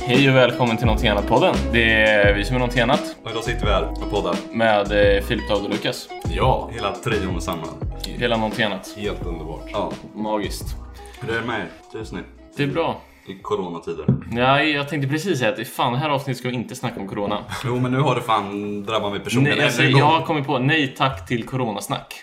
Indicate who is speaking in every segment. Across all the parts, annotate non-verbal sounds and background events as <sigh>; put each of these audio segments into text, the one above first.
Speaker 1: Hej och välkommen till Någonting Annat-podden. Det är vi som är Någonting Annat
Speaker 2: Och idag sitter vi här och poddar.
Speaker 1: med eh, Filip, David och Lukas.
Speaker 2: Ja. Hela trion samman.
Speaker 1: Hela Någonting Annat.
Speaker 3: Helt underbart.
Speaker 2: Ja.
Speaker 1: Magiskt.
Speaker 2: Hur är det med er just nu?
Speaker 1: Det är bra.
Speaker 2: I coronatider.
Speaker 1: Nej, jag tänkte precis säga att fan, det här avsnittet ska vi inte snacka om corona.
Speaker 2: Jo men nu har det fan drabbat mig
Speaker 1: <laughs>
Speaker 2: personligen.
Speaker 1: Nej, alltså,
Speaker 2: Ännu en
Speaker 1: jag
Speaker 2: gång.
Speaker 1: har kommit på nej tack till coronasnack.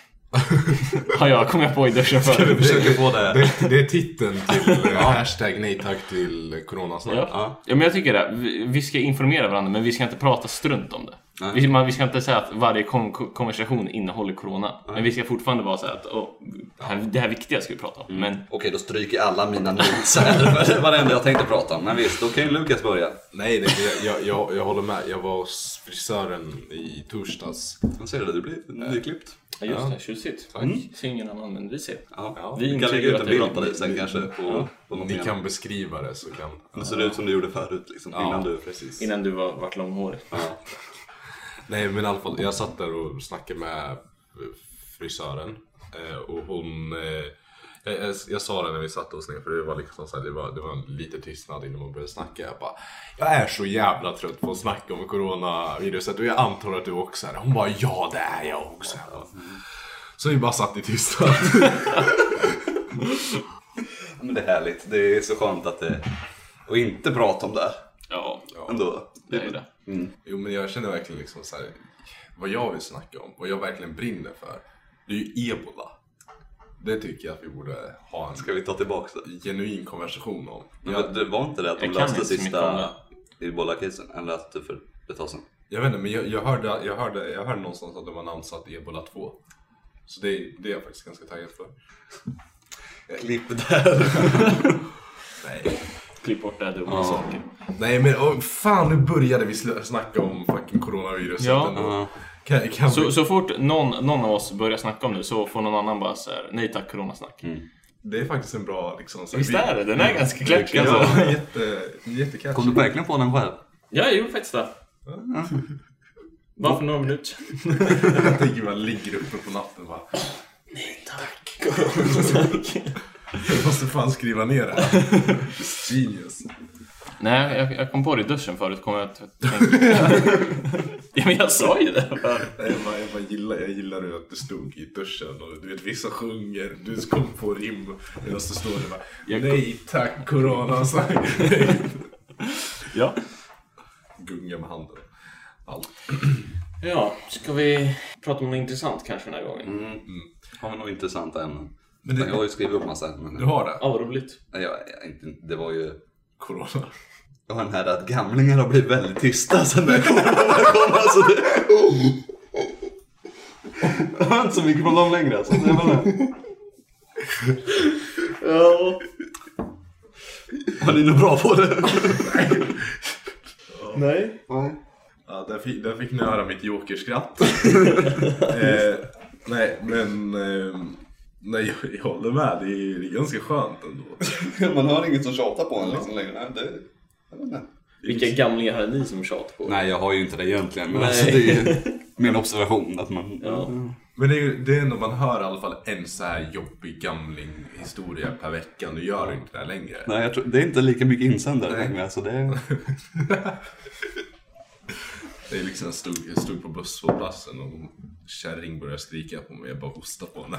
Speaker 1: <laughs> har jag kommit på i duschen förut.
Speaker 2: försöker få det.
Speaker 3: Det, det är titeln till eh, hashtag nej tack till coronasnack.
Speaker 1: Ja.
Speaker 2: Ja.
Speaker 1: ja, men jag tycker det. Vi- Vi ska informera varandra, men vi ska inte prata strunt om det.
Speaker 2: Nej.
Speaker 1: Vi, man, vi ska inte säga att varje kon- ko- konversation innehåller corona. Men vi ska fortfarande vara så här att åh, det, här, det här viktiga ska vi prata om. Men
Speaker 2: Okej, då stryker alla mina notes här. <laughs> Det var det enda jag tänkte prata om. Men visst, då kan ju Lukas börja.
Speaker 3: Nej, det, jag- jag, jag, jag håller med. Jag var hos frisören i torsdags.
Speaker 2: Men ser du, du blir nyklippt.
Speaker 1: Ja, just det, tjusigt. Mm.
Speaker 3: Tack.
Speaker 1: Singen han använder sig.
Speaker 2: Ja.
Speaker 1: Vi
Speaker 2: Vi kan
Speaker 1: tycker
Speaker 2: lägga ut
Speaker 1: att
Speaker 2: en
Speaker 1: det är
Speaker 2: bild på
Speaker 1: bra.
Speaker 2: dig sen kanske. På, på något
Speaker 3: Ni
Speaker 2: mer.
Speaker 3: kan beskriva det så kan...
Speaker 2: Det ser ut som du gjorde förut liksom. Innan du...
Speaker 3: precis.
Speaker 1: Innan du var, vart långhårig.
Speaker 2: Ja.
Speaker 3: Nej, men i alla fall. Jag satt där och snackade med frisören. eh, Och hon... eh, Jag, jag, jag sa det när vi satte oss ner för det var liksom så här, det var, det var lite tystnad innan man började snacka. Jag bara, jag är så jävla trött på att snacka om coronaviruset och jag antar att du också är det. Hon bara, ja det är jag också. Jag bara, Så vi bara satt i tystnad. <laughs>
Speaker 2: Men det är härligt. Det är så skönt att det... Och inte prata om det.
Speaker 1: Ja,
Speaker 2: Ändå.
Speaker 1: det är det.
Speaker 3: Jo men jag känner verkligen liksom så här, vad jag vill snacka om, vad jag verkligen brinner för, det är ju ebola. Det tycker jag att vi borde ha en
Speaker 2: Ska vi ta tillbaka det?
Speaker 3: genuin konversation om.
Speaker 2: Men
Speaker 3: Jag,
Speaker 2: det var inte det att de
Speaker 1: Jag kan
Speaker 2: löste
Speaker 1: inte så mycket om
Speaker 2: sista
Speaker 1: det.
Speaker 2: Ebola-casen? Eller att det för ett tag sedan?
Speaker 3: jag vet inte, men jag, jag, hörde, jag, hörde, jag hörde någonstans att de har namnsatt Ebola 2. Så det, det är jag faktiskt ganska taggad för.
Speaker 2: Klipp där!
Speaker 3: Nej,
Speaker 1: Klipp bort det här dumma saker.
Speaker 3: Nej men åh, fan nu började vi sl- snacka om fucking coronaviruset
Speaker 1: Ja.
Speaker 3: ändå. Kan, kan
Speaker 1: Så,
Speaker 3: vi,
Speaker 1: så fort någon, någon av oss börjar snacka om det så får någon annan bara så här, nej tack coronasnack.
Speaker 3: det är faktiskt en bra liksom... så här,
Speaker 1: Visst
Speaker 3: vi-
Speaker 1: är det? Den är ganska kläckig
Speaker 2: Ja.
Speaker 1: alltså.
Speaker 3: Ja, <laughs> jätte, jättecatchy.
Speaker 2: Kom du verkligen på den själv?
Speaker 1: Ja, jag gjorde faktiskt det. Bara för några minuter.
Speaker 3: Jag tänker man ligger uppe på natten och bara
Speaker 1: Nej tack.
Speaker 3: Jag måste fan skriva ner det här.
Speaker 1: <laughs>
Speaker 3: Genius.
Speaker 1: Nej, jag, jag kom på det i duschen förut. Kom jag att tänka. <laughs> ja, men jag sa ju det.
Speaker 3: Nej, Jag, bara, jag, bara gillar, jag gillar nu att du stod i duschen och du vet vissa sjunger, du kom på rim medan du står där och bara
Speaker 1: Jag kom-
Speaker 3: Nej tack corona. <laughs> så-
Speaker 1: Ja.
Speaker 3: Gunga med handen. Allt.
Speaker 1: ja, ska vi prata om något intressant kanske den här gången?
Speaker 2: Har vi några intressanta ämnen?
Speaker 3: Men det-
Speaker 2: jag har ju skrivit upp massa ämnen.
Speaker 3: Du har det?
Speaker 1: Ja, vad roligt.
Speaker 2: Nej, jag, jag, inte, det var ju...
Speaker 3: Corona.
Speaker 2: Jag har den här att gamlingar har blivit väldigt tysta sen det corona kom. Alltså det... Jag har inte så mycket från dem längre alltså. Jag menar,
Speaker 1: Ja.
Speaker 2: var ni nog bra på det?
Speaker 1: Nej.
Speaker 3: Ja, där, fick, där fick ni höra mitt jokerskratt. <laughs> eh, nej men eh, nej, jag, jag håller med, det är, det är ganska skönt
Speaker 2: <laughs>
Speaker 3: ändå.
Speaker 2: Man har inget som tjatar på en liksom längre. Nej, det... jag vet inte.
Speaker 1: Vilka gamlingar hade ni som tjat på?
Speaker 2: Nej, jag har ju inte det egentligen. Men
Speaker 1: Nej.
Speaker 2: alltså, det är ju
Speaker 1: <laughs>
Speaker 2: min observation att man...
Speaker 1: Ja.
Speaker 3: Men det är, ju- det är när man hör i alla fall en så här jobbig gamling historia per vecka. Nu gör du inte det här längre.
Speaker 2: Nej, jag tror, det är inte lika mycket insändare längre. Alltså, det är...
Speaker 3: Det är liksom, jag stod, jag stod på busshållplatsen och en kärring började skrika på mig. Jag bara hostade på henne.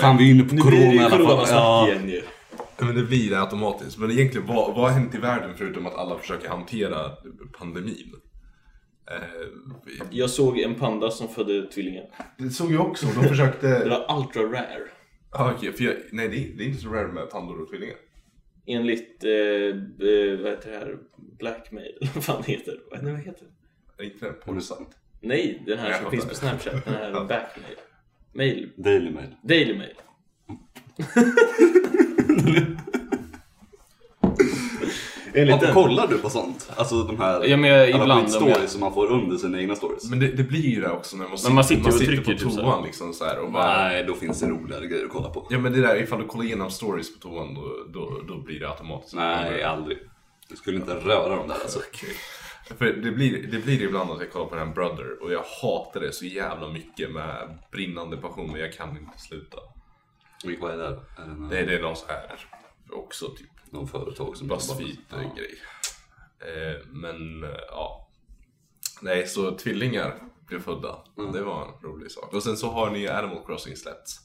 Speaker 2: Fan, vi är inne på
Speaker 1: Nu blir det
Speaker 2: corona i
Speaker 1: ju
Speaker 2: alla fall.
Speaker 1: coronasnack
Speaker 2: Ja.
Speaker 1: igen ju.
Speaker 3: Nej, <laughs> Men det blir det automatiskt. Men egentligen, vad, vad har hänt i världen förutom att alla försöker hantera pandemin? Eh, vi-
Speaker 1: Jag såg en panda som födde tvillingar.
Speaker 3: det såg jag också. De
Speaker 1: Det
Speaker 3: försökte... <laughs>
Speaker 1: var ultra rare.
Speaker 3: ah, okej, för jag, nej, det är, det är inte så rare med pandor och tvillingar.
Speaker 1: Enligt, eh, eh, vad heter det här, Blackmail, <laughs> eller vad fan det heter Vad- Nej, vad heter det?
Speaker 3: Är inte det porrsajt?
Speaker 1: Nej, den här
Speaker 3: Jag
Speaker 1: som
Speaker 3: fattar.
Speaker 1: finns på Snapchat, den här Backmail. Mail,
Speaker 2: Daily Mail.
Speaker 1: Daily Mail. Enligt
Speaker 2: Varför
Speaker 1: den.
Speaker 2: kollar du på sånt? Alltså de här
Speaker 1: Ja, men jag- ibland, om
Speaker 2: stories
Speaker 1: jag-
Speaker 2: som man får under sina egna stories.
Speaker 3: Men det, det blir ju det också när man sitter,
Speaker 1: Men man sitter och
Speaker 3: på
Speaker 1: trycker typ så här.
Speaker 3: toan liksom så här och bara...
Speaker 2: Nej, då finns det roligare grejer att kolla på.
Speaker 3: Ja men det där, ifall du kollar igenom stories på toan då, då, då blir det automatiskt.
Speaker 2: Nej, aldrig. Du skulle inte röra dem där alltså.
Speaker 3: Okej. För det blir, det blir ibland att jag kollar på den här Brother och jag hatar det så jävla mycket med brinnande passion men jag kan inte sluta.
Speaker 2: Vilk- Vad är det? här? Är det någon-
Speaker 3: Det, det är någon så här också typ
Speaker 2: De företag som jobbar med-
Speaker 3: Buzzfeed-grej. Eh, men eh, ja. Nej, så tvillingar blev födda. Det var en rolig sak. Och sen så har ni Animal Crossing släppts.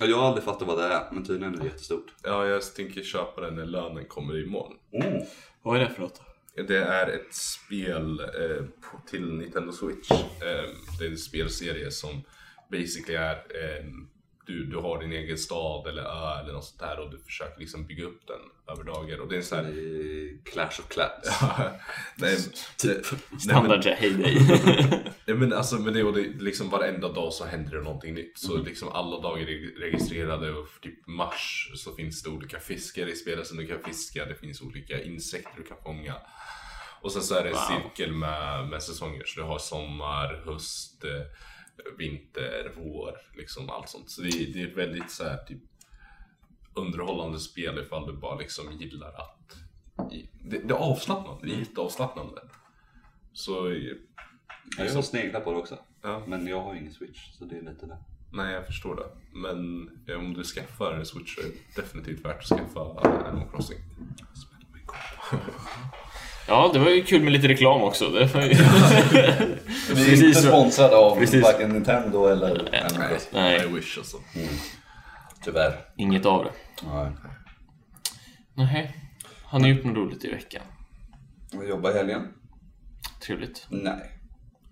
Speaker 2: Ja. Jag har aldrig fattat vad det är, men tydligen är det jättestort.
Speaker 3: Ja, jag tänker köpa den när lönen kommer imorgon.
Speaker 2: Oh.
Speaker 1: Vad är det för något?
Speaker 3: Det är ett spel eh, på- till Nintendo Switch. Eh, det är en spelserie som basically är eh, du, du har din egen stad eller ö eller något sånt där och du försöker liksom bygga upp den över dagar. Och det är en sån här... <laughs>
Speaker 2: Clash of Clans.
Speaker 3: nej,
Speaker 2: Typ.
Speaker 3: nej, men,
Speaker 1: Standard ja, hej dig.
Speaker 3: Ja, men alltså med det och det, liksom varenda dag så händer det någonting nytt. Så liksom alla dagar är registrerade och typ mars så finns det olika fiskar i spelet som du kan fiska. Det finns olika insekter du kan fånga. Och sen så är det en cirkel med, med säsonger. Så du har sommar, höst, eh, vinter, vår, liksom allt sånt. Så det, är- det är ett väldigt så här, typ underhållande spel ifall du bara liksom gillar att... Det, det är avslappnande, det är jätteavslappnande. Så eh,
Speaker 2: Ja, jag sneglar på det också.
Speaker 3: Ja.
Speaker 2: Men jag har ingen switch, så det är lite det.
Speaker 3: Nej, jag förstår det. Men eh, om du skaffar en Switch så är det definitivt värt att skaffa Animal Crossing.
Speaker 1: Ja, det var ju kul med lite reklam också. Det var ju...
Speaker 2: Vi
Speaker 1: Precis så.
Speaker 2: sponsrade av
Speaker 1: Precis.
Speaker 2: varken Nintendo eller
Speaker 3: Nej,
Speaker 2: Amazon.
Speaker 1: Nej.
Speaker 3: I wish alltså.
Speaker 2: Tyvärr.
Speaker 1: Inget av det.
Speaker 2: Nej.
Speaker 1: Nej. Har ni gjort något roligt i veckan?
Speaker 2: Jag jobbar i helgen.
Speaker 1: Trevligt.
Speaker 2: Nej.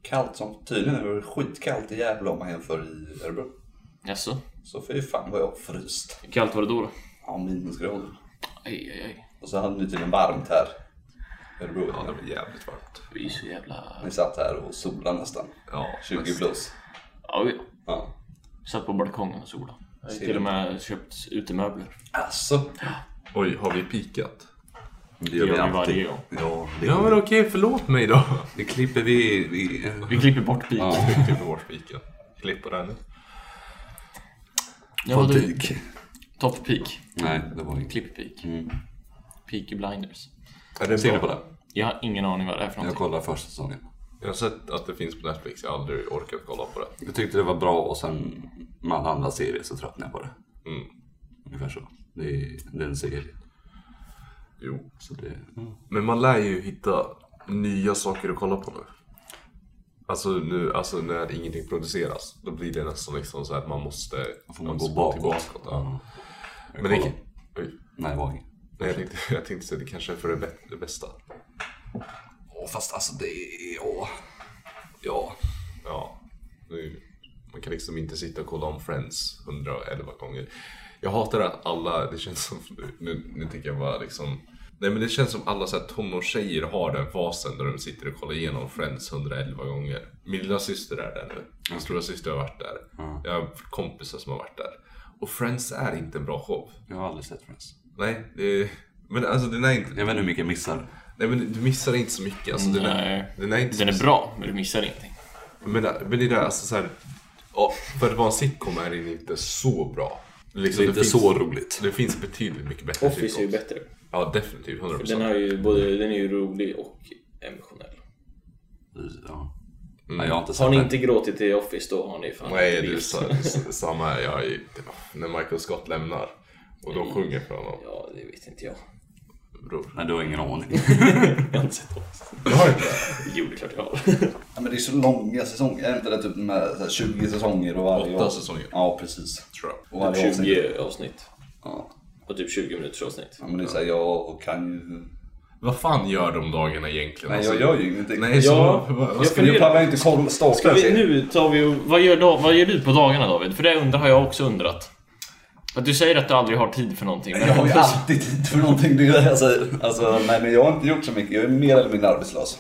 Speaker 2: Kallt som tydligen är det skitkallt i Gävle om man jämför i Örebro.
Speaker 1: Jaså?
Speaker 2: Så fy fan vad jag fryst.
Speaker 1: Hur kallt var det då? då?
Speaker 2: Ja, minusgrader.
Speaker 1: Aj, aj, aj.
Speaker 2: Och så hade ni tydligen varmt här. i Örebro.
Speaker 3: Ja, det var jävligt varmt.
Speaker 1: Vi är så jävla...
Speaker 2: Ni satt här och solade nästan.
Speaker 3: Ja,
Speaker 2: 20
Speaker 3: mest.
Speaker 2: plus.
Speaker 1: Ja, vi
Speaker 2: Ja.
Speaker 1: satt på balkongen och solade. Jag har
Speaker 2: Ser
Speaker 1: till och
Speaker 2: vi.
Speaker 1: med köpt utemöbler.
Speaker 2: Alltså.
Speaker 3: Oj, har vi pikat?
Speaker 2: Det
Speaker 1: gör vi alltid. varje gång.
Speaker 2: Ja, det,
Speaker 3: Ja, men okej, förlåt mig då.
Speaker 2: det klipper vi. vi
Speaker 1: Vi klipper bort piken.
Speaker 2: Ja.
Speaker 3: Klipper bort piken. Klipp på den nu.
Speaker 1: Ja,
Speaker 2: på
Speaker 1: du.
Speaker 2: dyk.
Speaker 1: Top peak. Mm.
Speaker 2: Nej, det var inget.
Speaker 1: Klipp peak. Peaky blinders.
Speaker 3: Är det
Speaker 2: Ser du på det?
Speaker 1: Jag har ingen aning vad det är för
Speaker 2: Jag
Speaker 1: någonting.
Speaker 2: kollade första säsongen.
Speaker 3: Jag har sett att det finns på Netflix. Jag har aldrig orkat kolla på det.
Speaker 2: Jag tyckte det var bra och sen med alla andra serier så tröttnade jag på det.
Speaker 3: Mm.
Speaker 2: Ungefär så. Det är, det är en serie.
Speaker 3: Jo.
Speaker 2: Så det,
Speaker 3: Men man lär ju hitta nya saker att kolla på nu. Alltså, nu, alltså när ingenting produceras, då blir det nästan liksom så här att man måste...
Speaker 2: Då får man gå bakåt.
Speaker 3: ja.
Speaker 2: Jag
Speaker 3: Men det,
Speaker 2: kollar.
Speaker 3: oj,
Speaker 2: Nej, det var inget.
Speaker 3: nej, jag, tänkte, jag tänkte säga det kanske är för det, bä- det bästa.
Speaker 2: Åh, fast alltså det är... Ja. ja.
Speaker 3: Ja, nu, man kan liksom inte sitta och kolla om Friends 111 gånger. Jag hatar att alla, det känns som, nu, nu tänker jag bara liksom Nej men det känns som alla så här tonårstjejer har den fasen där de sitter och kollar igenom Friends 111 gånger. Min lilla syster är där nu. Min stora syster har varit där. Jag har kompisar som har varit där. Och Friends är inte en bra show.
Speaker 2: Jag har aldrig sett Friends.
Speaker 3: Nej, det, men alltså den är inte...
Speaker 2: Jag vet inte hur mycket jag missar.
Speaker 3: Nej men du missar inte så mycket. Alltså, den, är,
Speaker 1: Nej.
Speaker 3: den är inte
Speaker 1: Den
Speaker 3: så-
Speaker 1: är bra, men du missar ingenting.
Speaker 3: Men, men det där, alltså så här, ja, för att vara en sitcom är den inte så bra. Liksom,
Speaker 2: Det är inte
Speaker 3: finns,
Speaker 2: så roligt.
Speaker 3: Det finns betydligt mycket bättre sitcoms.
Speaker 1: bättre.
Speaker 3: Ja, definitivt. 100%.
Speaker 1: har ju både, den är ju rolig och emotionell.
Speaker 2: Ja.
Speaker 3: Mm.
Speaker 2: Nej, jag har inte sett
Speaker 1: Har ni
Speaker 2: den.
Speaker 1: inte gråtit i Office då har ni fan
Speaker 3: Nej,
Speaker 1: inte
Speaker 3: du
Speaker 1: levt.
Speaker 3: sa s- samma. här. Jag, är ju- det var när Michael Scott lämnar och de sjunger för honom.
Speaker 1: Ja, det vet inte jag.
Speaker 3: Bror.
Speaker 2: Nej, du har
Speaker 1: <laughs>
Speaker 2: ingen aning.
Speaker 1: Jag har inte sett Office.
Speaker 3: Jag har inte det.
Speaker 1: Jo, det är klart jag har.
Speaker 4: Ja, men det är så långa säsonger, är inte det typ de här, så här 20 säsonger och varje
Speaker 3: Åtta
Speaker 4: år?
Speaker 3: säsonger.
Speaker 4: Ja, precis.
Speaker 3: Tror jag.
Speaker 4: Och varje avsnitt.
Speaker 1: 20 avsnitt.
Speaker 4: Ja.
Speaker 1: Och typ 20 minuters avsnitt.
Speaker 4: ja, men det är så här, jag kan ju...
Speaker 3: Vad fan gör de dagarna egentligen?
Speaker 4: Nej,
Speaker 3: alltså?
Speaker 4: jag gör ju ingenting.
Speaker 3: Nej, så,
Speaker 1: Ja,
Speaker 3: vad, vad
Speaker 1: jag
Speaker 3: ska
Speaker 4: Men
Speaker 3: ni
Speaker 4: jag
Speaker 3: göra?
Speaker 4: pallar inte kolla starta
Speaker 1: Ska
Speaker 4: en
Speaker 1: vi,
Speaker 4: serie.
Speaker 1: nu tar vi och, vad, gör, Da- vad gör du på dagarna David? För det undrar, har jag också undrat. Att du säger att du aldrig har tid för någonting. Men
Speaker 4: Jag har ju alltid tid för någonting, det är det jag säger. Alltså, nej, men jag har inte gjort så mycket. Jag är mer eller mindre arbetslös.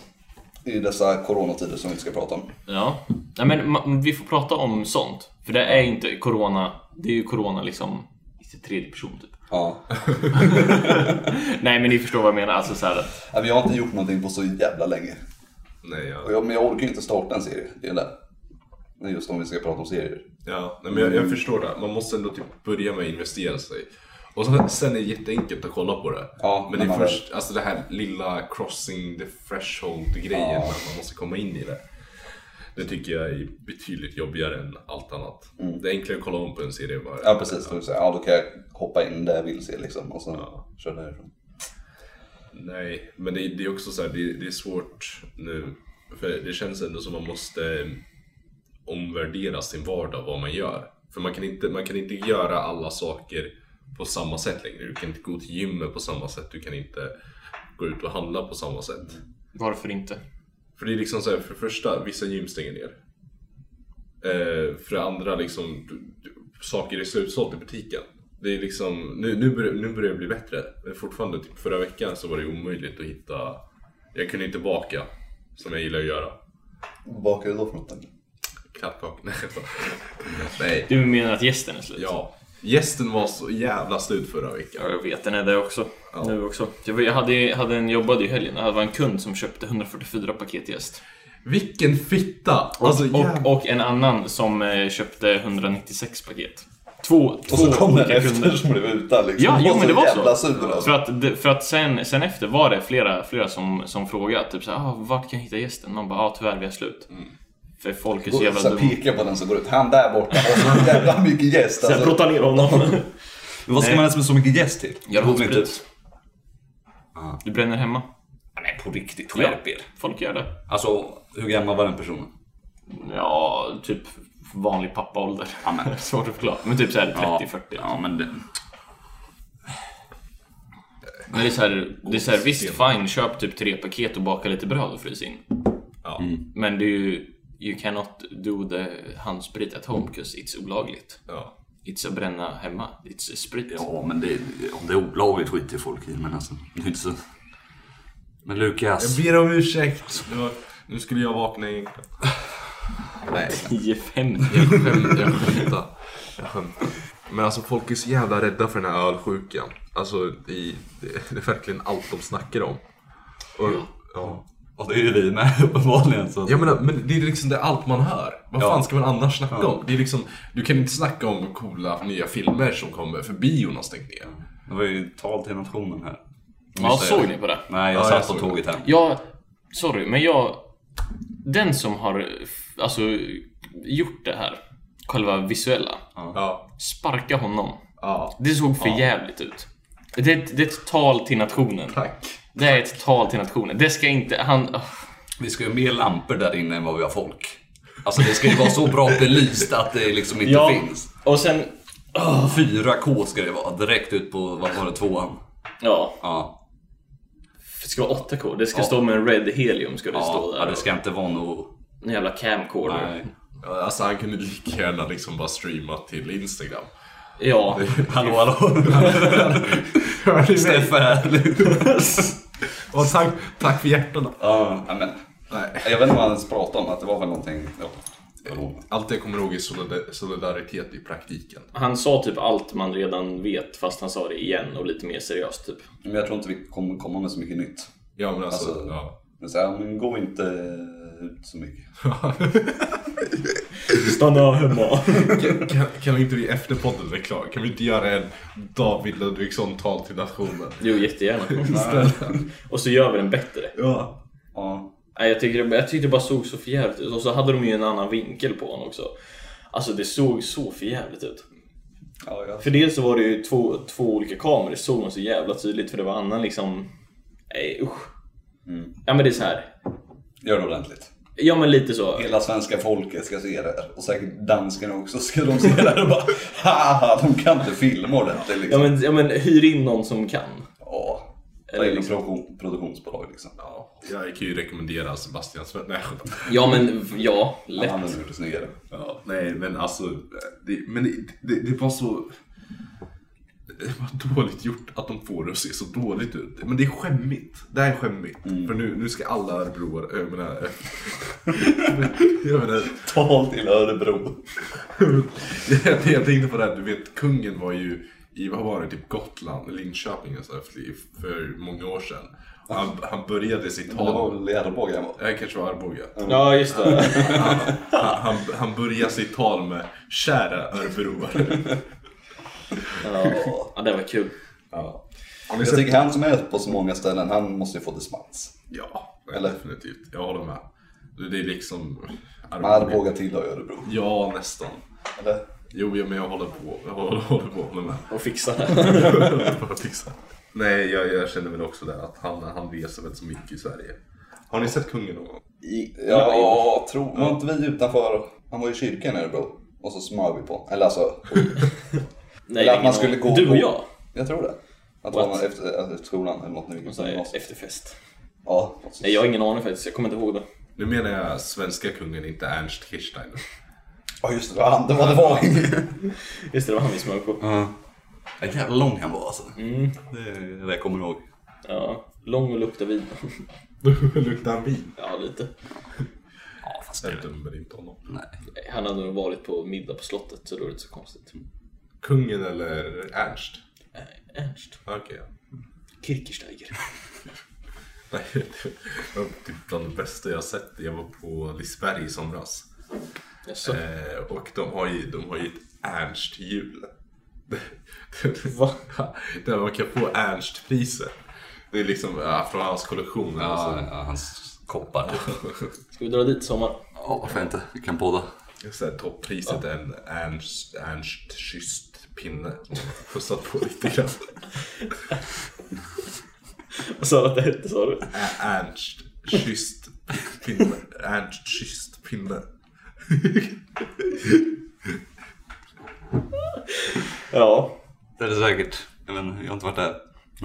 Speaker 4: I dessa coronatider som vi inte ska prata om.
Speaker 1: Ja. Nej, men ma- vi får prata om sånt. För det är inte corona. Det är ju corona liksom i sin tredje person typ.
Speaker 4: Ja.
Speaker 1: Nej men ni förstår vad jag menar. Alltså så här att,
Speaker 4: Nej, men jag har inte gjort någonting på så jävla länge.
Speaker 3: Nej,
Speaker 4: Och
Speaker 3: jag,
Speaker 4: jag, men jag orkar ju inte starta en serie, det är det. Det är just om vi ska prata om serier.
Speaker 3: ja, nej, men jag, jag förstår det. Man måste ändå typ börja med att investera sig. Och sen, sen är det jätteenkelt att kolla på det.
Speaker 4: Ja,
Speaker 3: men det är
Speaker 4: när man
Speaker 3: först alltså det här lilla crossing the threshold grejen. Man måste komma in i det. Det tycker jag är betydligt jobbigare än allt annat.
Speaker 4: Mm.
Speaker 3: Det är enklare att kolla om på en serie bara.
Speaker 5: Ja precis, då, så, ja, då kan jag hoppa in där jag vill se liksom och så kör därifrån.
Speaker 3: Nej, men det, det är också så här, det, det är svårt nu. För det känns ändå som man måste eh, omvärdera sin vardag, vad man gör. För man kan inte, man kan inte göra alla saker på samma sätt längre. Du kan inte gå till gymmet på samma sätt. Du kan inte gå ut och handla på samma sätt.
Speaker 1: Varför inte?
Speaker 3: För det är liksom så här, för det första, vissa gym stänger ner. Eh, för det andra, liksom, du, du, saker är slutsålt i butiken. Det är liksom, nu, nu, börjar, nu börjar det bli bättre. Men fortfarande, typ förra veckan så var det omöjligt att hitta... Jag kunde inte baka, som jag gillar att göra.
Speaker 5: Bakar du då för något? då?
Speaker 3: Klappkaka. <laughs> Nej, jag skojar. Nej.
Speaker 1: Du menar att gästen är slut?
Speaker 3: Ja. Gästen var så jävla slut förra veckan.
Speaker 1: Ja, jag vet, den är där också. Nu också. Jag, var- jag hade, hade en, jobbade i helgen och det var en kund som köpte 144 paket gäst.
Speaker 3: Vilken fitta! Alltså, jävla-
Speaker 1: Och, och en annan som eh, köpte 196 paket. Två, två
Speaker 5: Och så kommer den
Speaker 1: olika
Speaker 5: efter som blev utan liksom.
Speaker 1: Ja,
Speaker 5: De
Speaker 1: jo, men det var
Speaker 5: jävla
Speaker 1: så.
Speaker 5: Sur, alltså.
Speaker 1: För att, det- för att sen, sen efter var det flera, flera som, som frågade typ såhär, ah, vart kan jag hitta gästen? Man bara, ah, tyvärr vi är slut.
Speaker 5: Mm.
Speaker 1: För folk är så
Speaker 5: Går-
Speaker 1: jävla
Speaker 5: Så här,
Speaker 1: dumma.
Speaker 5: pekar på den som går ut, han där borta. Och så jävla mycket gäst
Speaker 1: Så jag
Speaker 5: alltså.
Speaker 1: brottade ner <laughs> honom.
Speaker 5: Men Vad ska man ens med så mycket gäst till?
Speaker 1: Jag har
Speaker 5: Roligt
Speaker 1: sprit.
Speaker 5: ut.
Speaker 1: Du bränner hemma.
Speaker 5: Nej, på riktigt. Skärp er.
Speaker 1: Folk gör det.
Speaker 5: Alltså, hur gammal var den personen?
Speaker 1: Ja, typ vanlig pappaålder.
Speaker 5: Ja,
Speaker 1: <laughs>
Speaker 5: men.
Speaker 1: Svårt att förklara. Men typ såhär 30-40.
Speaker 5: Ja, men det...
Speaker 1: Men det är såhär, det är så här, visst fine, köp typ tre paket och baka lite bröd och frys in.
Speaker 3: Ja.
Speaker 1: Men det är ju, you cannot do the handsprit at home, 'cause it's olagligt.
Speaker 3: Ja.
Speaker 1: It's att bränna hemma. It's sprit.
Speaker 2: Ja, men det, om det är olagligt skiter folk i. Men alltså, det är inte så... Men Lukas.
Speaker 3: Jag ber om ursäkt. Det var, nu skulle jag vakna egentligen.
Speaker 6: Nej,
Speaker 1: 10-50.
Speaker 3: skämt, jag skämtar. Jag skämtar. Men alltså folk är så jävla rädda för den här ölsjukan. Alltså i, det, det är verkligen allt de snackar om. Och, ja.
Speaker 2: Och det är ju vi med <laughs> uppenbarligen. Så.
Speaker 3: Jag menar, men det är liksom det är allt man hör. Vad fan ska man annars snacka om? Det är liksom, du kan inte snacka om coola nya filmer som kommer för bion har stängt ner.
Speaker 2: Det var ju tal till nationen här.
Speaker 1: Ja, såg ni på det?
Speaker 2: Nej, jag
Speaker 3: Ja, jag
Speaker 2: satt
Speaker 3: såg
Speaker 2: på tåget hem.
Speaker 1: Ja, sorry, men jag... Den som har f- alltså, gjort det här, själva visuella,
Speaker 3: Ja.
Speaker 1: sparka honom.
Speaker 3: Ja.
Speaker 1: Det såg för jävligt ut. Det är, ett, det är ett tal till nationen.
Speaker 3: Tack.
Speaker 1: Det är ett tal till nationen. Det ska inte... Han... öh.
Speaker 2: Vi ska ju ha mer lampor där inne än vad vi har folk. Alltså det ska ju vara så bra belyst att det liksom inte finns.
Speaker 1: Och sen...
Speaker 2: 4K ska det vara direkt ut på, vad var det, tvåan?
Speaker 1: Ja,
Speaker 2: Ja,
Speaker 1: det ska vara 8K. Det ska stå med en red helium, ska det
Speaker 2: ja,
Speaker 1: stå där.
Speaker 2: ja det ska inte vara något...
Speaker 1: En jävla camcorder.
Speaker 2: Nej.
Speaker 3: Ja, Alltså han kunde lika gärna liksom bara streama till Instagram.
Speaker 1: Ja.
Speaker 2: Hallå
Speaker 1: <laughs>
Speaker 2: hallå! Steffe här.
Speaker 3: Och tack, tack för hjärtana.
Speaker 5: Ja, men.
Speaker 3: Nej.
Speaker 5: Jag vet inte vad han ens pratade om, att det var väl någonting... Ja, förlåt.
Speaker 3: Allt jag kommer ihåg är solidar- solidaritet i praktiken.
Speaker 1: Han sa typ allt man redan vet, fast han sa det igen och lite mer seriöst typ.
Speaker 5: Men jag tror inte vi kommer komma med så mycket nytt.
Speaker 3: Ja men alltså,
Speaker 5: Alltså-
Speaker 3: ja.
Speaker 5: Men så här, ja, men gå inte ut så mycket.
Speaker 1: Stanna hemma.
Speaker 3: Kan, kan, kan vi inte vi efter podden är klar, kan vi inte göra en David Ludvigsson-tal till nationen?
Speaker 1: Jo, jättegärna. och så gör vi den bättre.
Speaker 3: Ja.
Speaker 5: Ja,
Speaker 1: Nej, jag, tyckte, jag tyckte det bara såg så förjävligt ut. Och så hade de ju en annan vinkel på honom också. Alltså det såg så förjävligt ut.
Speaker 5: ja, ja.
Speaker 1: För dels så var det ju två, två olika kameror, såg man så jävla tydligt för det var annan liksom... Nej usch. Ja men det är så här.
Speaker 5: Gör det ordentligt.
Speaker 1: Ja men lite så.
Speaker 5: Hela svenska folket ska se det här. Och säkert danskarna också ska de se det här och bara Haha, de kan inte filma ordentligt
Speaker 1: Ja
Speaker 5: liksom.
Speaker 1: men, ja, men hyr in någon som kan.
Speaker 5: Ja,
Speaker 1: Eller
Speaker 5: ta in
Speaker 1: liksom-
Speaker 5: liksom. produktionsbolag liksom. Ja,
Speaker 3: Jag kan ju rekommendera Sebastian Svensson. Nej, jag skämtar.
Speaker 1: Ja men ja, lätt.
Speaker 5: han har gjort det snyggare.
Speaker 3: ja, Nej, men alltså, det, men det, det, det var så... Det var dåligt gjort att de får det att se så dåligt ut. Men det är skämmigt. Det här är skämmigt. För nu, nu ska alla örebroare, jag menar... <laughs> jag menar,
Speaker 5: Tal till Örebro.
Speaker 3: jag, <laughs> jag tänkte på det här, du vet kungen var ju i, vad var det, typ Gotland, Linköping och så här, för, för många år sedan. Och Han, han började sitt
Speaker 5: Det var
Speaker 3: tal...
Speaker 5: väl i Arboga han var.
Speaker 3: Det här kanske var Arboga.
Speaker 1: Ja just det.
Speaker 3: Han, han, han börjar sitt tal med Kära örebroare.
Speaker 1: <laughs> Ja det var kul.
Speaker 3: Har ni
Speaker 5: Jag
Speaker 3: sett?
Speaker 5: tycker han som är på så många ställen, han måste ju få dispens.
Speaker 3: Ja, nej,
Speaker 5: Eller?
Speaker 3: definitivt. Jag håller med. Det är liksom...
Speaker 5: Men Arboga tillhör ju Örebro.
Speaker 3: Ja, nästan.
Speaker 5: Eller?
Speaker 3: Jo, ja, men jag håller på. Jag håller, håller på med det.
Speaker 2: Och
Speaker 1: <laughs>
Speaker 2: fixa det.
Speaker 3: Bara fixa. <laughs> Nej, jag, jag känner väl också det att han, han reser väl så mycket i Sverige. Har ni sett kungen någon gång?
Speaker 5: I, ja, jag tror... Var inte vi utanför... Han var i kyrkan i Örebro. Och så smög vi på Eller alltså...
Speaker 1: Nej,
Speaker 5: Eller att
Speaker 1: ingen
Speaker 5: man skulle
Speaker 1: aning.
Speaker 5: gå
Speaker 1: Du och
Speaker 5: på-
Speaker 1: jag?
Speaker 5: Jag tror det.
Speaker 1: What?
Speaker 5: Att det var efter, alltså, efter skolan eller något när vi gick
Speaker 1: Så
Speaker 5: på
Speaker 1: här,
Speaker 5: gymnasiet.
Speaker 1: efterfest.
Speaker 5: Ja, precis.
Speaker 1: Nej, jag har ingen aning faktiskt. Jag kommer inte ihåg det.
Speaker 3: Nu menar jag svenska kungen, inte Ernst Kirchsteiner.
Speaker 5: Ja, just det. Det var han. Det var det var.
Speaker 2: <laughs>
Speaker 1: Just det, det var han vi smög på.
Speaker 2: Vad jävla lång han var alltså. Det, det där kommer jag ihåg.
Speaker 1: Ja, lång och luktar vin.
Speaker 3: <laughs>
Speaker 1: <laughs>
Speaker 3: Luktar han vin?
Speaker 1: Ja, lite.
Speaker 2: Ja, fast
Speaker 3: Jag dömer inte honom.
Speaker 2: nej.
Speaker 1: Han hade nog varit på middag på slottet, så då är det inte så konstigt.
Speaker 3: Kungen eller Ernst?
Speaker 1: Nej, Eh, Ernst.
Speaker 3: Okej. ja.
Speaker 1: <laughs> Kirchsteiger.
Speaker 3: Nej, det var typ bland det bästa jag har sett. Jag var på Liseberg i somras.
Speaker 1: Jaså?
Speaker 3: Eh, och de har ju, de har ju ett <laughs> Ernst-hjul.
Speaker 1: Va?
Speaker 3: Där man kan få Ernst-priset. Det är liksom ja, från hans kollektion.
Speaker 2: Ja,
Speaker 3: Alltså.
Speaker 2: ja, hans koppar.
Speaker 1: Ska vi dra dit i sommar?
Speaker 2: Ja, varför inte? Vi kan båda.
Speaker 3: Så här, toppriset är en Ernst, Ernst kysst pinne. som man har Pussat på lite grann.
Speaker 1: Vad sa du att det hette, sa du?
Speaker 3: Ä- Ernst kysst pinne. Ernst kysst pinne.
Speaker 1: Ja,
Speaker 2: Det är det säkert. Jag, vet, inte, jag har inte varit där.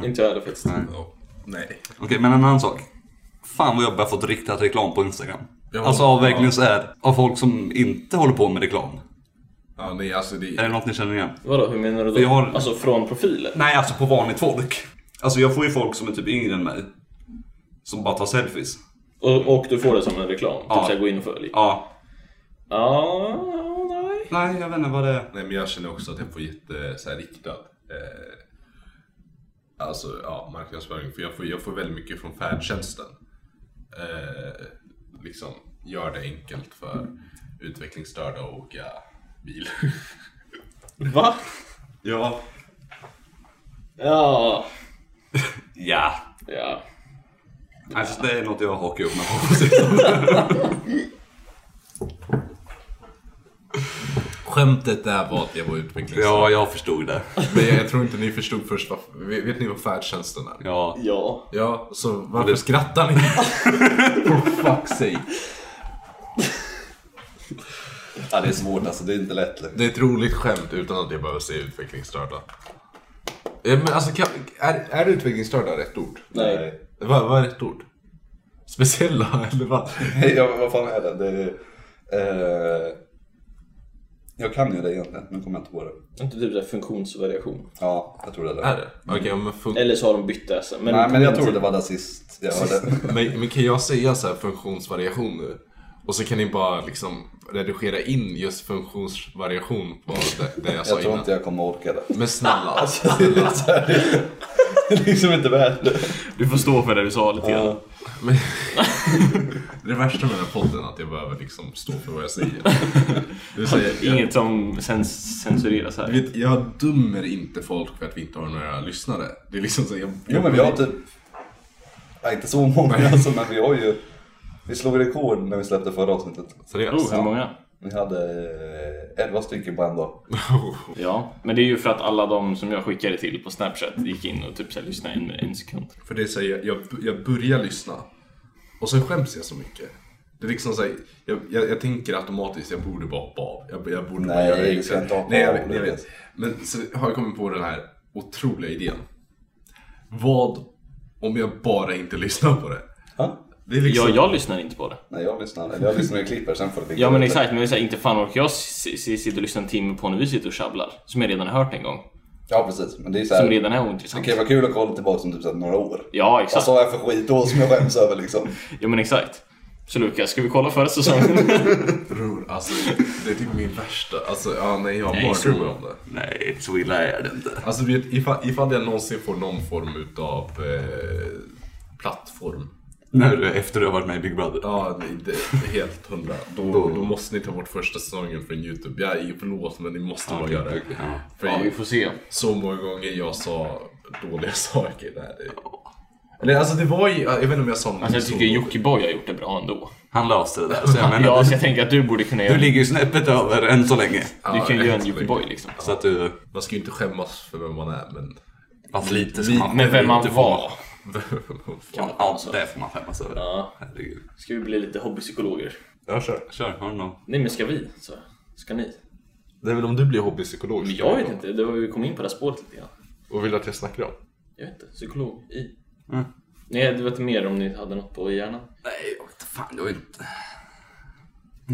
Speaker 1: inte jag heller faktiskt.
Speaker 3: Ja, Nej.
Speaker 2: Okej, men en annan sak. Fan vad jag börjar fått riktat reklam på Instagram.
Speaker 3: Ja,
Speaker 2: alltså av verkligen så här, av folk som inte håller på med reklam.
Speaker 3: Ja, nej, alltså det
Speaker 2: Är det något ni känner igen?
Speaker 1: Vadå, hur menar du då?
Speaker 2: Vi har-
Speaker 1: Alltså från profiler?
Speaker 2: Nej, alltså på vanligt folk. Alltså jag får ju folk som är typ yngre än mig. Som bara tar selfies.
Speaker 1: Och, och du får det som en reklam? Typ
Speaker 2: Ja.
Speaker 1: såhär, gå in och följ?
Speaker 2: Ja.
Speaker 1: Ja, nej.
Speaker 2: Nej, jag vet inte vad det är.
Speaker 3: Nej men jag känner också att jag får jätte så här, riktad eh, Alltså ja, marknadsföring. För jag får, jag får väldigt mycket från färdtjänsten. Eh, liksom, gör det enkelt för utvecklingsstörda att åka bil.
Speaker 1: Va?
Speaker 3: ja.
Speaker 1: Ja,
Speaker 2: Ja.
Speaker 1: ja.
Speaker 2: Alltså det är något jag hakar upp mig på.
Speaker 3: Skämtet där var att jag var
Speaker 2: <laughs>
Speaker 3: utvecklingsstörd.
Speaker 2: Ja, jag förstod det.
Speaker 3: Men jag, jag tror inte ni förstod först vad, vet, vet ni vad färdtjänsten är?
Speaker 2: Ja.
Speaker 1: Ja.
Speaker 3: Ja, så varför skrattar <laughs> ni? For fuck's sake.
Speaker 5: ja, det är svårt alltså. Det är inte lätt. liksom.
Speaker 3: Det är ett roligt skämt utan att jag behöver säga utvecklingsstörda. Ja, men alltså, kan, är, är utvecklingsstörda rätt ord?
Speaker 1: Nej.
Speaker 3: Vad, vad är rätt ord? Speciella <laughs> eller vad?
Speaker 5: <laughs> Ja, vad fan är det? det är, eh, jag kan ju det egentligen, men kommer jag inte på det.
Speaker 1: Inte typ såhär funktionsvariation.
Speaker 5: Ja, jag tror det är det.
Speaker 3: Är det? Okej, men, fun-
Speaker 1: Eller så har de bytt det. alltså. Men,
Speaker 5: Nej, men jag tror
Speaker 1: <laughs>
Speaker 5: det var där sist jag hörde.
Speaker 3: men, men kan jag säga så här funktionsvariation nu? Och så kan ni bara liksom redigera in just funktionsvariation på det, det jag sa
Speaker 5: Jag tror
Speaker 3: innan.
Speaker 5: inte jag kommer orka det.
Speaker 3: Men snälla.
Speaker 5: Alltså, Det är liksom inte värt det.
Speaker 1: Du får stå för det du sa lite grann.
Speaker 3: Men, <laughs> det är värsta med den här podden är att jag behöver liksom stå för vad jag säger. Du säger
Speaker 1: Inget som sens- censureras
Speaker 3: Jag,
Speaker 1: här.
Speaker 3: vet, jag dömer inte folk för att vi inte har några lyssnare. Det är liksom så, jag,
Speaker 5: Jo, men vi har typ... Ja, inte så många alltså, men vi har ju... Vi slog rekord när vi släppte förra avsnittet.
Speaker 3: Seriöst?
Speaker 1: Oh, hur många?
Speaker 5: Vi hade eh, 11 stycken på en dag.
Speaker 1: Ja, men det är ju för att alla de som jag skickade till på Snapchat gick in och typ så här, lyssnade en, en sekund.
Speaker 3: För det är så, här, jag, jag, jag börjar lyssna och sen skäms jag så mycket. Det är liksom så, här, jag, jag, jag tänker automatiskt, jag borde bara hoppa av. Jag, jag borde bara
Speaker 5: Nej,
Speaker 3: göra det
Speaker 5: du ska
Speaker 3: enklare.
Speaker 5: inte hoppa
Speaker 3: Nej, jag,
Speaker 5: av,
Speaker 3: vet-
Speaker 5: du
Speaker 3: jag vet.
Speaker 5: vet.
Speaker 3: Men så har jag kommit på den här otroliga idén. Vad om jag bara inte lyssnar på det?
Speaker 5: Ha?
Speaker 3: Det är liksom...
Speaker 1: Ja, jag lyssnar inte på det.
Speaker 5: Nej, jag lyssnar. Eller jag lyssnar i klipper, sen får det ligga
Speaker 1: Ja men
Speaker 5: ute.
Speaker 1: exakt, men det är så här, inte fan orkar jag s- s- sitta och lyssna en timme på när vi sitter och tjabblar. Som jag redan har hört en gång.
Speaker 5: Ja, precis. Men det är
Speaker 2: Äh,
Speaker 5: så
Speaker 1: Som
Speaker 5: här...
Speaker 1: redan är
Speaker 5: Det
Speaker 1: ointressant.
Speaker 5: kan ju vara kul att kolla tillbaka om typ så här några år.
Speaker 1: Ja,
Speaker 3: Liksom.
Speaker 1: exakt.
Speaker 5: Vad
Speaker 2: Alltså-
Speaker 5: sa Alltså, jag för skit då som jag skäms över liksom?
Speaker 1: Ja men exakt. Så Lukas, ska vi kolla förra säsongen?
Speaker 2: <laughs>
Speaker 3: Bror, alltså det är typ min värsta... Alltså, ja, nej, jag har
Speaker 2: Nej, så-
Speaker 3: mardrömmar om det.
Speaker 2: Nej, så illa är det inte.
Speaker 3: Alltså du vet, ifall, ifall jag någonsin får någon form utav eh, plattform.
Speaker 2: När du, efter du har varit med i Big Brother.
Speaker 3: Ja, nej, det är helt hundra. Då, då måste ni ta bort första säsongen från Youtube. Jag är förlåt men ni måste bara göra det.
Speaker 2: Ja.
Speaker 3: För
Speaker 1: får se.
Speaker 3: <laughs> så många gånger jag sa dåliga saker där. Det, Eller alltså det var ju, jag vet inte om jag sa något
Speaker 1: Alltså jag
Speaker 3: så-
Speaker 1: tycker Jockiboi har gjort det bra ändå.
Speaker 2: Han löste det där. Så <laughs> jag menar,
Speaker 1: Ja,
Speaker 2: du,
Speaker 1: så jag tänker att du borde kunna göra
Speaker 2: du ligger ju snäppet över än så länge.
Speaker 1: Du kan ju göra en
Speaker 3: exakt.
Speaker 1: Jockiboi liksom.
Speaker 2: Så att du...
Speaker 3: Man ska ju inte skämmas för vem man är men...
Speaker 2: Fast lite ska man...
Speaker 1: Men vem
Speaker 2: lite
Speaker 1: man
Speaker 2: får
Speaker 1: var.
Speaker 2: Ja, ja, det får man skämmas över. Ja. Herregud.
Speaker 1: Ska vi bli lite hobbypsykologer?
Speaker 3: ja, kör.
Speaker 2: Kör, har du någon?
Speaker 1: Nej men ska vi? Så. Ska ni?
Speaker 3: Det är väl om du blir hobbypsykolog?
Speaker 1: Men jag vet inte, det var vi kom in på det här spåret lite grann.
Speaker 3: Och vill du att jag snackar om?
Speaker 1: Jag vet inte, psykolog i.
Speaker 2: Mm.
Speaker 1: Nej, du vet mer om ni hade något på hjärnan?
Speaker 2: Nej, jag vet inte fan. Jag är inte...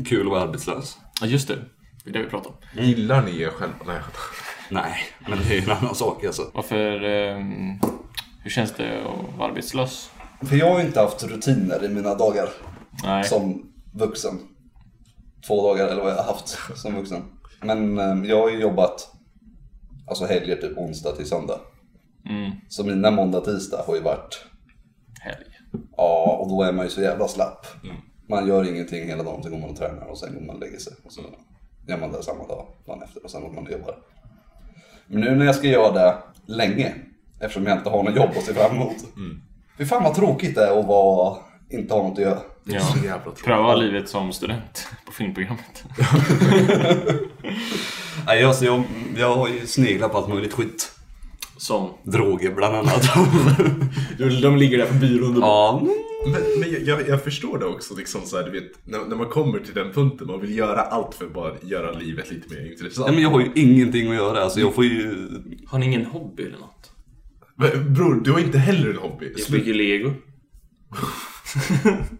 Speaker 2: Kul att vara arbetslös.
Speaker 1: Ja just det, det är det vi pratar om.
Speaker 3: Gillar ni er själva? Nej,
Speaker 2: Nej, men det är ju en annan sak alltså.
Speaker 1: Varför... ehm, hur känns det att vara arbetslös?
Speaker 5: För jag har ju inte haft rutiner i mina dagar
Speaker 1: Nej.
Speaker 5: som vuxen. Två dagar eller vad jag har haft som vuxen. Men eh, jag har ju jobbat alltså helger typ onsdag till söndag.
Speaker 3: Mm.
Speaker 5: Så mina måndag tisdag har ju varit,
Speaker 1: Helg.
Speaker 5: ja och då är man ju så jävla slapp.
Speaker 2: Mm.
Speaker 5: Man gör ingenting hela dagen, sen går man och tränar och sen går man och lägger sig. Och så gör man det samma dag, dagen efter och sen går man och jobbar. Men nu när jag ska göra det länge, eftersom jag inte har något jobb att se fram emot.
Speaker 2: Mm.
Speaker 5: Fy fan vad tråkigt det är att vara, inte ha något att göra.
Speaker 3: det är
Speaker 1: Ja.
Speaker 3: så jävla tråkigt.
Speaker 1: Pröva livet som student på filmprogrammet.
Speaker 2: Nej, alltså jag, jag har ju sneglat på allt möjligt skit.
Speaker 1: <laughs> Som?
Speaker 2: Droger bland annat. <laughs>
Speaker 1: De ligger där på byrån och
Speaker 2: ja, men
Speaker 3: Men, men jag- jag, jag förstår det också, liksom så här, du vet, när, när man kommer till den punkten, man vill göra allt för att bara göra livet lite mer intressant.
Speaker 2: Nej, men jag har ju ingenting att göra. Alltså, jag får ju...
Speaker 1: Har ni ingen hobby eller något?
Speaker 3: Men, bror, du har inte heller en hobby.
Speaker 1: Jag
Speaker 3: Sluta.
Speaker 1: bygger lego.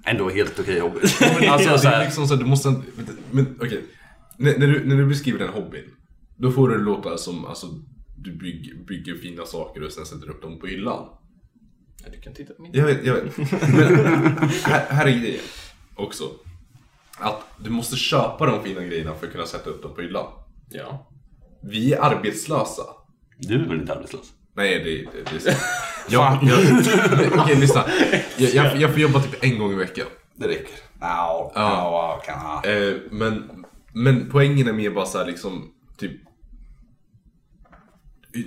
Speaker 2: Ändå helt okej <laughs> jobb.
Speaker 3: Alltså,
Speaker 2: alltså,
Speaker 3: det
Speaker 2: så
Speaker 3: är
Speaker 2: här,
Speaker 3: liksom så här, du måste inte... vänta, Men okej. När, när, du, när du beskriver den hobbyn, då får du det låta som alltså, du bygg, bygger fina saker och sen sätter upp dem på hyllan.
Speaker 1: Ja, du kan titta på min.
Speaker 3: Jag vet, jag vet. Men <laughs> här, här är grejen också. Att du måste köpa de fina grejerna för att kunna sätta upp dem på hyllan.
Speaker 1: Ja.
Speaker 3: Vi är arbetslösa.
Speaker 2: du är väl inte arbetslös?
Speaker 3: Nej, det, det, det är sant. Jag, jag, <laughs> okej, lyssna. Jag, jag, jag får jobba typ en gång i veckan.
Speaker 2: Det räcker.
Speaker 5: Ja, ja, kan ha.
Speaker 3: Eh, men, men poängen är mer bara så här liksom, typ.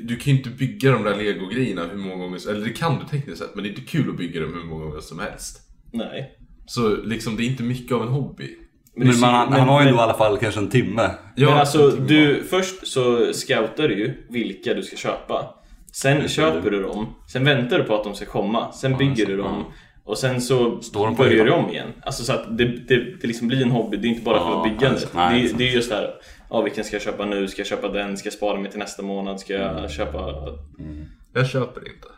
Speaker 3: Du kan ju inte bygga de där legogrejerna hur många gånger Eller det kan du tekniskt sett, men det är inte kul att bygga dem hur många gånger som helst.
Speaker 1: Nej.
Speaker 3: Så liksom, det är inte mycket av en hobby.
Speaker 2: Men,
Speaker 1: det-
Speaker 2: man, han,
Speaker 1: men-
Speaker 2: han har ju
Speaker 1: men-
Speaker 2: ändå i alla fall kanske en timme.
Speaker 3: Ja,
Speaker 1: men alltså,
Speaker 3: någonting
Speaker 1: du, först så scoutar du ju vilka du ska köpa. Sen köper du dem, sen väntar du på att de ska komma, sen bygger du dem och sen så
Speaker 2: Står de på
Speaker 1: börjar du
Speaker 2: hyllan?
Speaker 1: om igen. Alltså så att det, det, det liksom blir en hobby, det är inte bara
Speaker 2: Ja,
Speaker 1: själva byggandet.
Speaker 2: alltså, nej,
Speaker 1: det,
Speaker 2: exakt.
Speaker 1: det är just det här, ja, vilken ska jag köpa nu? Ska jag köpa den? Ska jag spara mig till nästa månad? Ska jag
Speaker 2: Mm.
Speaker 1: köpa...
Speaker 3: Jag köper inte.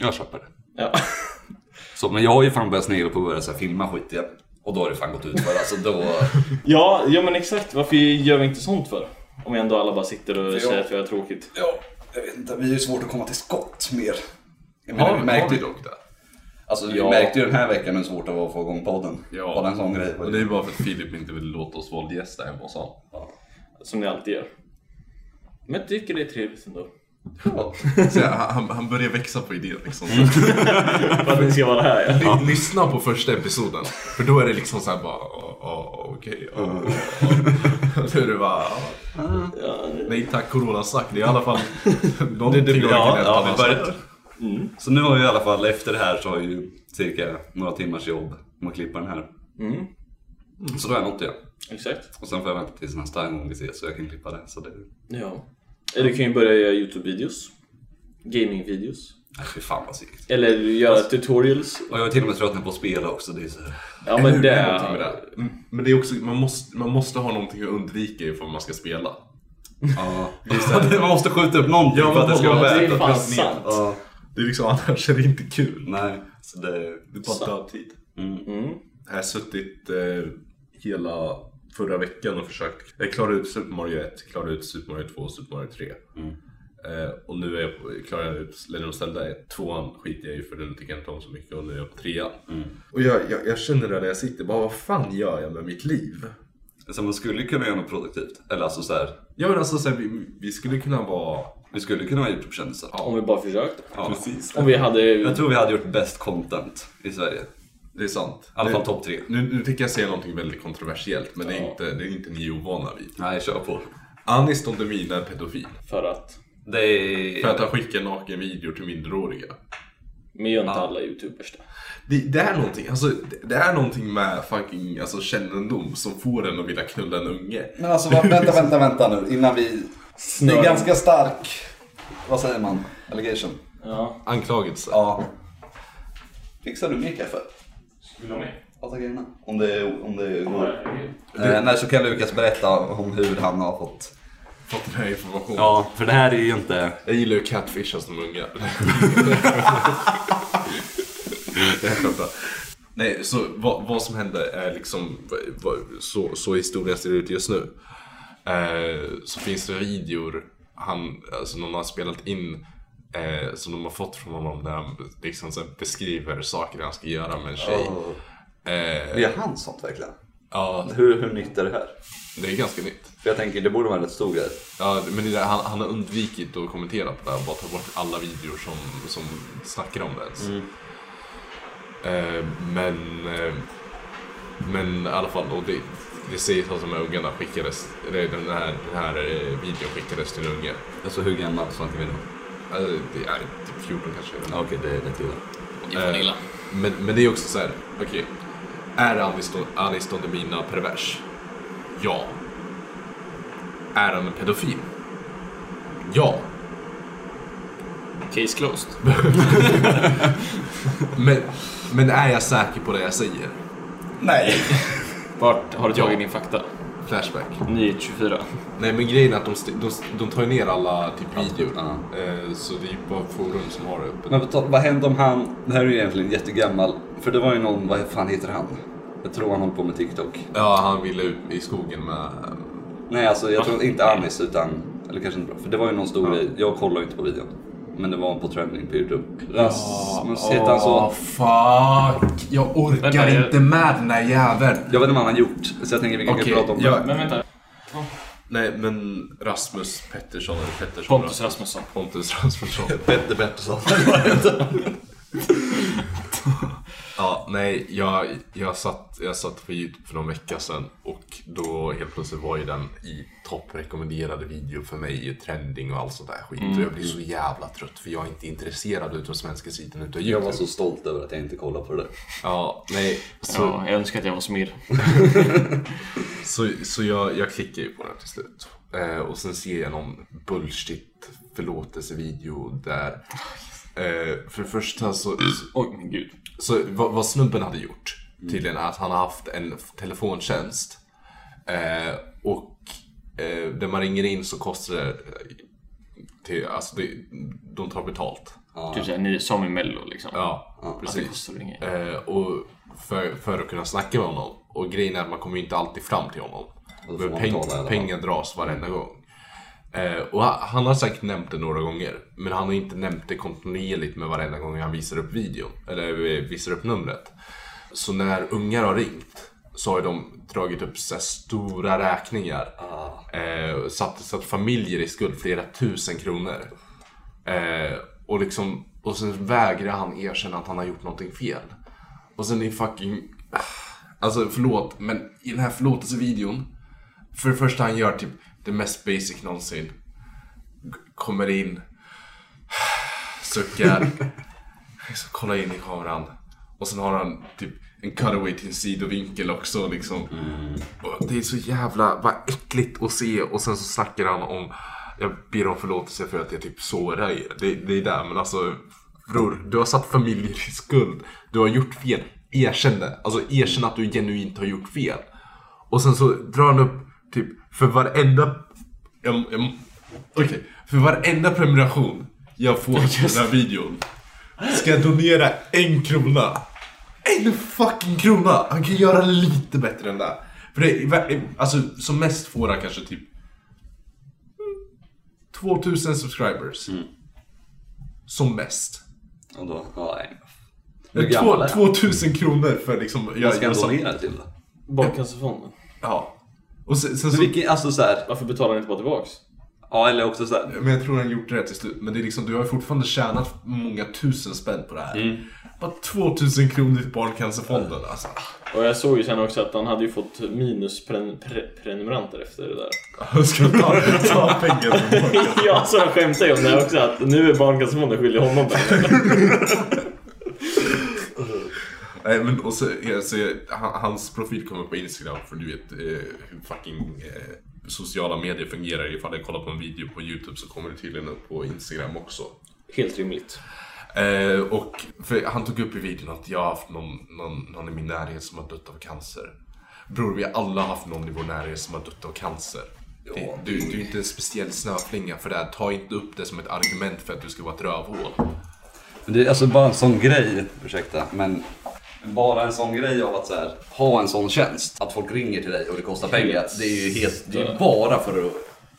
Speaker 2: Jag köper det.
Speaker 1: Ja. <laughs>
Speaker 2: Så, men jag har ju fan börjat snegla på att börja så här, filma skit igen. Och då har det fan gått ut för alltså, då...
Speaker 1: ja, ja men exakt. Varför gör vi inte sånt för? Om vi ändå alla bara sitter och
Speaker 5: jag-
Speaker 1: säger att vi har tråkigt.
Speaker 5: Ja, jag vet inte. Vi är ju svårt att komma till skott mer. Jag menar,
Speaker 3: Har,
Speaker 5: vi,
Speaker 3: har
Speaker 5: märkte,
Speaker 3: vi
Speaker 5: ju-
Speaker 3: dock det?
Speaker 5: alltså, vi
Speaker 1: Ja.
Speaker 5: märkte ju den här veckan hur svårt det var att få igång podden.
Speaker 3: Ja.
Speaker 5: Bara en sån grej.
Speaker 3: Och det är bara för att Filip inte vill låta oss vara gäster hemma hos honom.
Speaker 1: Som ni alltid gör. Men jag tycker det är trevligt
Speaker 2: <laughs>
Speaker 1: ändå.
Speaker 5: Ja.
Speaker 3: Så han, han- han börjar växa på idén liksom.
Speaker 1: För att ni ska vara här ja.
Speaker 3: Lyssna på första episoden. För då är det liksom såhär bara, "Ja, ja, okej. ja, ja, ja." <laughs> Då är det bara,
Speaker 1: Ja,
Speaker 3: nej tack coronasnack. Det är i alla <laughs> fall någonting det, det,
Speaker 2: Ja, ja, vi börjar. Så nu har jag i alla fall, efter det här så har jag ju cirka några timmars jobb med att klippa den här. Mm. Så då har jag nått det.
Speaker 1: Exakt.
Speaker 2: Och sen får jag vänta tills nästa gång vi ses så jag kan klippa det. Så det...
Speaker 1: Ja. Eller du kan ju börja göra Youtube-videos. Gaming-videos.
Speaker 2: Nej, fy fan vad segt.
Speaker 1: Eller göra tutorials.
Speaker 2: Och jag är till och med tröttnat på att spela också. Det är så... här-
Speaker 1: Ja men det...
Speaker 3: med det. här. Mm, Men det är också, man måste, man måste ha någonting att undvika ifall man ska spela.
Speaker 2: Ja, <laughs> man måste skjuta upp någonting
Speaker 3: Ja,
Speaker 2: för att det ska
Speaker 3: man-
Speaker 2: vara
Speaker 1: Det är
Speaker 2: värt
Speaker 3: Vänta,
Speaker 1: fan
Speaker 3: press ner.
Speaker 1: sant.
Speaker 2: Ja,
Speaker 3: Det är liksom, <laughs> annars är det inte kul.
Speaker 2: nej. Så det...
Speaker 3: Det är bara dödtid.
Speaker 1: Mm.
Speaker 3: Jag har suttit eh, hela förra veckan och försökt. Jag klarade ut Super Mario 1, klarade ut Super Mario 2 och Super Mario 3. Eh, och nu är jag på, klarar jag ut Legend of Zelda 1. Tvåan skiter jag i för den tycker jag inte om så mycket och nu är jag på trean. Och jag, jag, jag känner det när jag sitter, bara vad fan gör jag med mitt liv?
Speaker 2: Så man skulle kunna göra något produktivt. Eller alltså så här,
Speaker 3: Ja men alltså så här, vi, vi skulle kunna vara...
Speaker 2: vi skulle kunna vara Youtube-kändisar.
Speaker 1: Om vi bara försökte.
Speaker 2: Ja.
Speaker 3: Precis.
Speaker 1: Om vi hade...
Speaker 2: Jag tror vi hade gjort bäst content i Sverige. I
Speaker 3: Det är sant.
Speaker 2: alla fall
Speaker 3: Nu-
Speaker 2: topp tre.
Speaker 3: Nu, nu tänker jag säga någonting väldigt kontroversiellt men det, är inte, det är inte ni ovana vid.
Speaker 2: Nej, kör på.
Speaker 3: Anis Don Demina är pedofil.
Speaker 1: För att...
Speaker 2: Det är...
Speaker 3: För att han skickar nakenvideor till minderåriga.
Speaker 1: Men gör inte alla youtubers det.
Speaker 3: Det, det, är någonting, alltså, det, det är någonting med fucking alltså, kännedom som får en att vilja knulla en unge.
Speaker 5: Men alltså va- vänta, vänta, vänta nu innan vi... Det är
Speaker 1: Snör.
Speaker 5: ganska stark, vad säger man, allegation.
Speaker 1: Ja.
Speaker 3: Anklagelse.
Speaker 5: Ja. Fixar du mer kaffe?
Speaker 1: Vill du ha med?
Speaker 5: Ja tack gärna. Om det, om det går. Eh, nej så kan Lukas berätta om hur han har fått.
Speaker 3: Fått den här informationen.
Speaker 2: Ja, för det här är ju inte...
Speaker 3: Jag gillar ju catfishen som unga. <laughs> Jag skämtar. Nej, så vad, vad som hände är liksom vad, så, så historien ser ut just nu. Eh, så finns det videor han, alltså någon har spelat in eh, som de har fått från honom där han liksom så här beskriver saker han ska göra med en tjej. Eh,
Speaker 5: Gör han sånt verkligen?
Speaker 3: ja,
Speaker 5: Hur, hur nytt är det här?
Speaker 3: det är ganska nytt.
Speaker 5: För jag tänker det borde vara en rätt stor grej.
Speaker 3: Ja, men det där, han, han har undvikit att kommentera på det här och bara tagit bort alla videor som, som snackar om det ens.
Speaker 2: Mm.
Speaker 3: Eh, men, eh, men i alla fall, och det, det sägs att de här ungarna skickades, eller den här, den här eh, videon skickades till en unge.
Speaker 2: Alltså hur gammal snackar vi då?
Speaker 3: Eh, det är typ 14 kanske.
Speaker 2: Ja, Okej, det är rätt illa.
Speaker 3: Eh, men, men det är också så här, okej. Är Anis, Anis Don Demina pervers? Ja. Är han en pedofil? Ja.
Speaker 1: Case closed.
Speaker 3: Men, men är jag säker på det jag säger?
Speaker 5: Nej.
Speaker 1: Vart har du tagit
Speaker 3: Ja.
Speaker 1: din fakta?
Speaker 3: Flashback.
Speaker 1: Nyhet 24.
Speaker 3: Nej men grejen är att de, st- de, st- de tar ju ner alla typ videor.
Speaker 2: Ja.
Speaker 3: Eh, så det är ju bara forum som har det uppe.
Speaker 2: Men på tal- vad hände om han... Det här är ju egentligen jättegammal. För det var ju någon, vad fan heter han? Jag tror han håller på med TikTok.
Speaker 3: Ja, han ville ut i skogen med...
Speaker 2: Nej, alltså jag tror inte Anis utan... Eller kanske inte bra. För det var ju någon stor grej. Jag kollar ju inte på videon. Men det var på trending på Youtube. Rasmus heter han så.
Speaker 3: fuck! Jag orkar
Speaker 1: Vänta, jag- inte
Speaker 3: med den där jäveln.
Speaker 2: Jag vet inte vad han har gjort. Så jag tänker vi kan
Speaker 3: Okej,
Speaker 2: prata om det.
Speaker 3: jag-
Speaker 1: Men vänta.
Speaker 3: Nej men Rasmus Pettersson eller Pettersson.
Speaker 1: Pontus Rasmusson.
Speaker 2: <laughs>
Speaker 3: Pontus Rasmusson.
Speaker 5: Petter Pettersson.
Speaker 3: <laughs> Ja, nej, jag, jag, satt, jag satt på Youtube för någon vecka sedan och då helt plötsligt var ju den i topprekommenderade video för mig, i trending och allt sånt där skit.
Speaker 2: Mm.
Speaker 3: Och jag blir så jävla trött för jag är inte intresserad utav svenska sidan
Speaker 2: Jag
Speaker 3: utav Youtube.
Speaker 2: var så stolt över att jag inte kollade på det där.
Speaker 3: Ja, nej. Så,
Speaker 1: Ja, jag önskar att jag var Smir.
Speaker 3: så, så jag, jag klickar ju på den till slut. Eh, och sen ser jag någon bullshit förlåtelsevideo där.
Speaker 2: Ah,
Speaker 3: Eh, för det första så, så
Speaker 1: Oj, min gud.
Speaker 3: Så vad, vad snubben hade gjort tydligen är att han har haft en f- telefontjänst. Eh, och eh, när man ringer in så kostar det... eh, Till, alltså det, de tar betalt.
Speaker 1: Typ såhär, ni är som i Mello liksom.
Speaker 3: Ja,
Speaker 1: Att det
Speaker 3: precis.
Speaker 1: kostar väl inget.
Speaker 3: Eh, och för, för att kunna snacka med honom. Och grejen är att man kommer ju inte alltid fram till honom.
Speaker 2: då får
Speaker 3: Men
Speaker 2: Alltså, man betala
Speaker 3: peng,
Speaker 2: i alla fall. Mm.
Speaker 3: pengar dras varenda gång. Eh, och han, han har säkert nämnt det några gånger. Men han har inte nämnt det kontinuerligt med varenda gång han visar upp videon. Eller eh, visar upp numret. Så när ungar har ringt så har ju de dragit upp så här stora räkningar.
Speaker 2: Ah.
Speaker 3: Eh, satt, satt familjer i skuld flera tusen kronor. Eh, och, liksom, och sen vägrar han erkänna att han har gjort någonting fel. Och sen är fucking... Alltså förlåt, men i den här förlåtelsevideon. För det första han gör typ det mest basic någonsin. G- Kommer in. <sighs> Suckar. Så kollar liksom in i kameran. Och sen har han typ en cutaway till en sidovinkel också liksom. Och det är så jävla, vad äckligt att se. Och sen så snackar han om, jag ber om förlåtelse för att jag typ sårar er. Det, det är där, men alltså. Bror, du har satt familjer i skuld. Du har gjort fel. Erkänn det. Alltså erkänn att du genuint har gjort fel. Och sen så drar han upp typ för varenda... Jag, jag, okej, för varenda prenumeration jag får på den här videon ska jag donera en krona. En fucking krona! Han kan göra det lite bättre än det. För det är, ver- alltså som mest får han kanske typ 2000 subscribers.
Speaker 2: Mm.
Speaker 3: Som mest.
Speaker 2: Och då, ja, nej. Hur gammal är
Speaker 3: Två-
Speaker 2: han?
Speaker 3: 2000 kronor för liksom... Jag,
Speaker 2: Ska han donera till det?
Speaker 1: Barncancerfonden.
Speaker 3: ja. Och sen, sen
Speaker 2: Men
Speaker 3: så
Speaker 2: vilken, alltså såhär,
Speaker 1: Varför betalar ni inte bara tillbaks?
Speaker 2: ja eller också såhär.
Speaker 3: Men jag tror han gjort rätt till slut. Men det är liksom, du har ju fortfarande tjänat många tusen spänn på det här.
Speaker 2: Mm.
Speaker 3: Bara 2000 kronor till Barncancerfonden alltså.
Speaker 1: Och jag såg ju sen också att han hade ju fått minus pren- pre- prenumeranter efter <laughs> det där.
Speaker 3: Jag ska ta, ta pengar från Barncancer.
Speaker 1: Ja, så jag skämtade ju om det här också att nu är Barncancerfonden skyldig honom pengar.
Speaker 3: Nej, men och så, så, han- hans profil kommer på Instagram för du vet eh, hur fucking eh, sociala medier fungerar. Ifall jag kollar på en video på YouTube så kommer det tydligen upp på Instagram också.
Speaker 1: Helt rimligt.
Speaker 3: Eh, och för han tog upp i videon att jag har haft någon, någon, någon i min närhet som har dött av cancer. Bror, vi har alla haft någon i vår närhet som har dött av cancer. Det, du, du är inte en speciell snöflinga för det här. Ta inte upp det som ett argument för att du ska vara ett rövhål.
Speaker 2: Men Det är alltså bara en sån grej, ursäkta, men bara en sån grej av att så här, ha en sån tjänst.
Speaker 5: Att folk ringer till dig och det kostar pengar, det är ju helt, det är ju bara för att...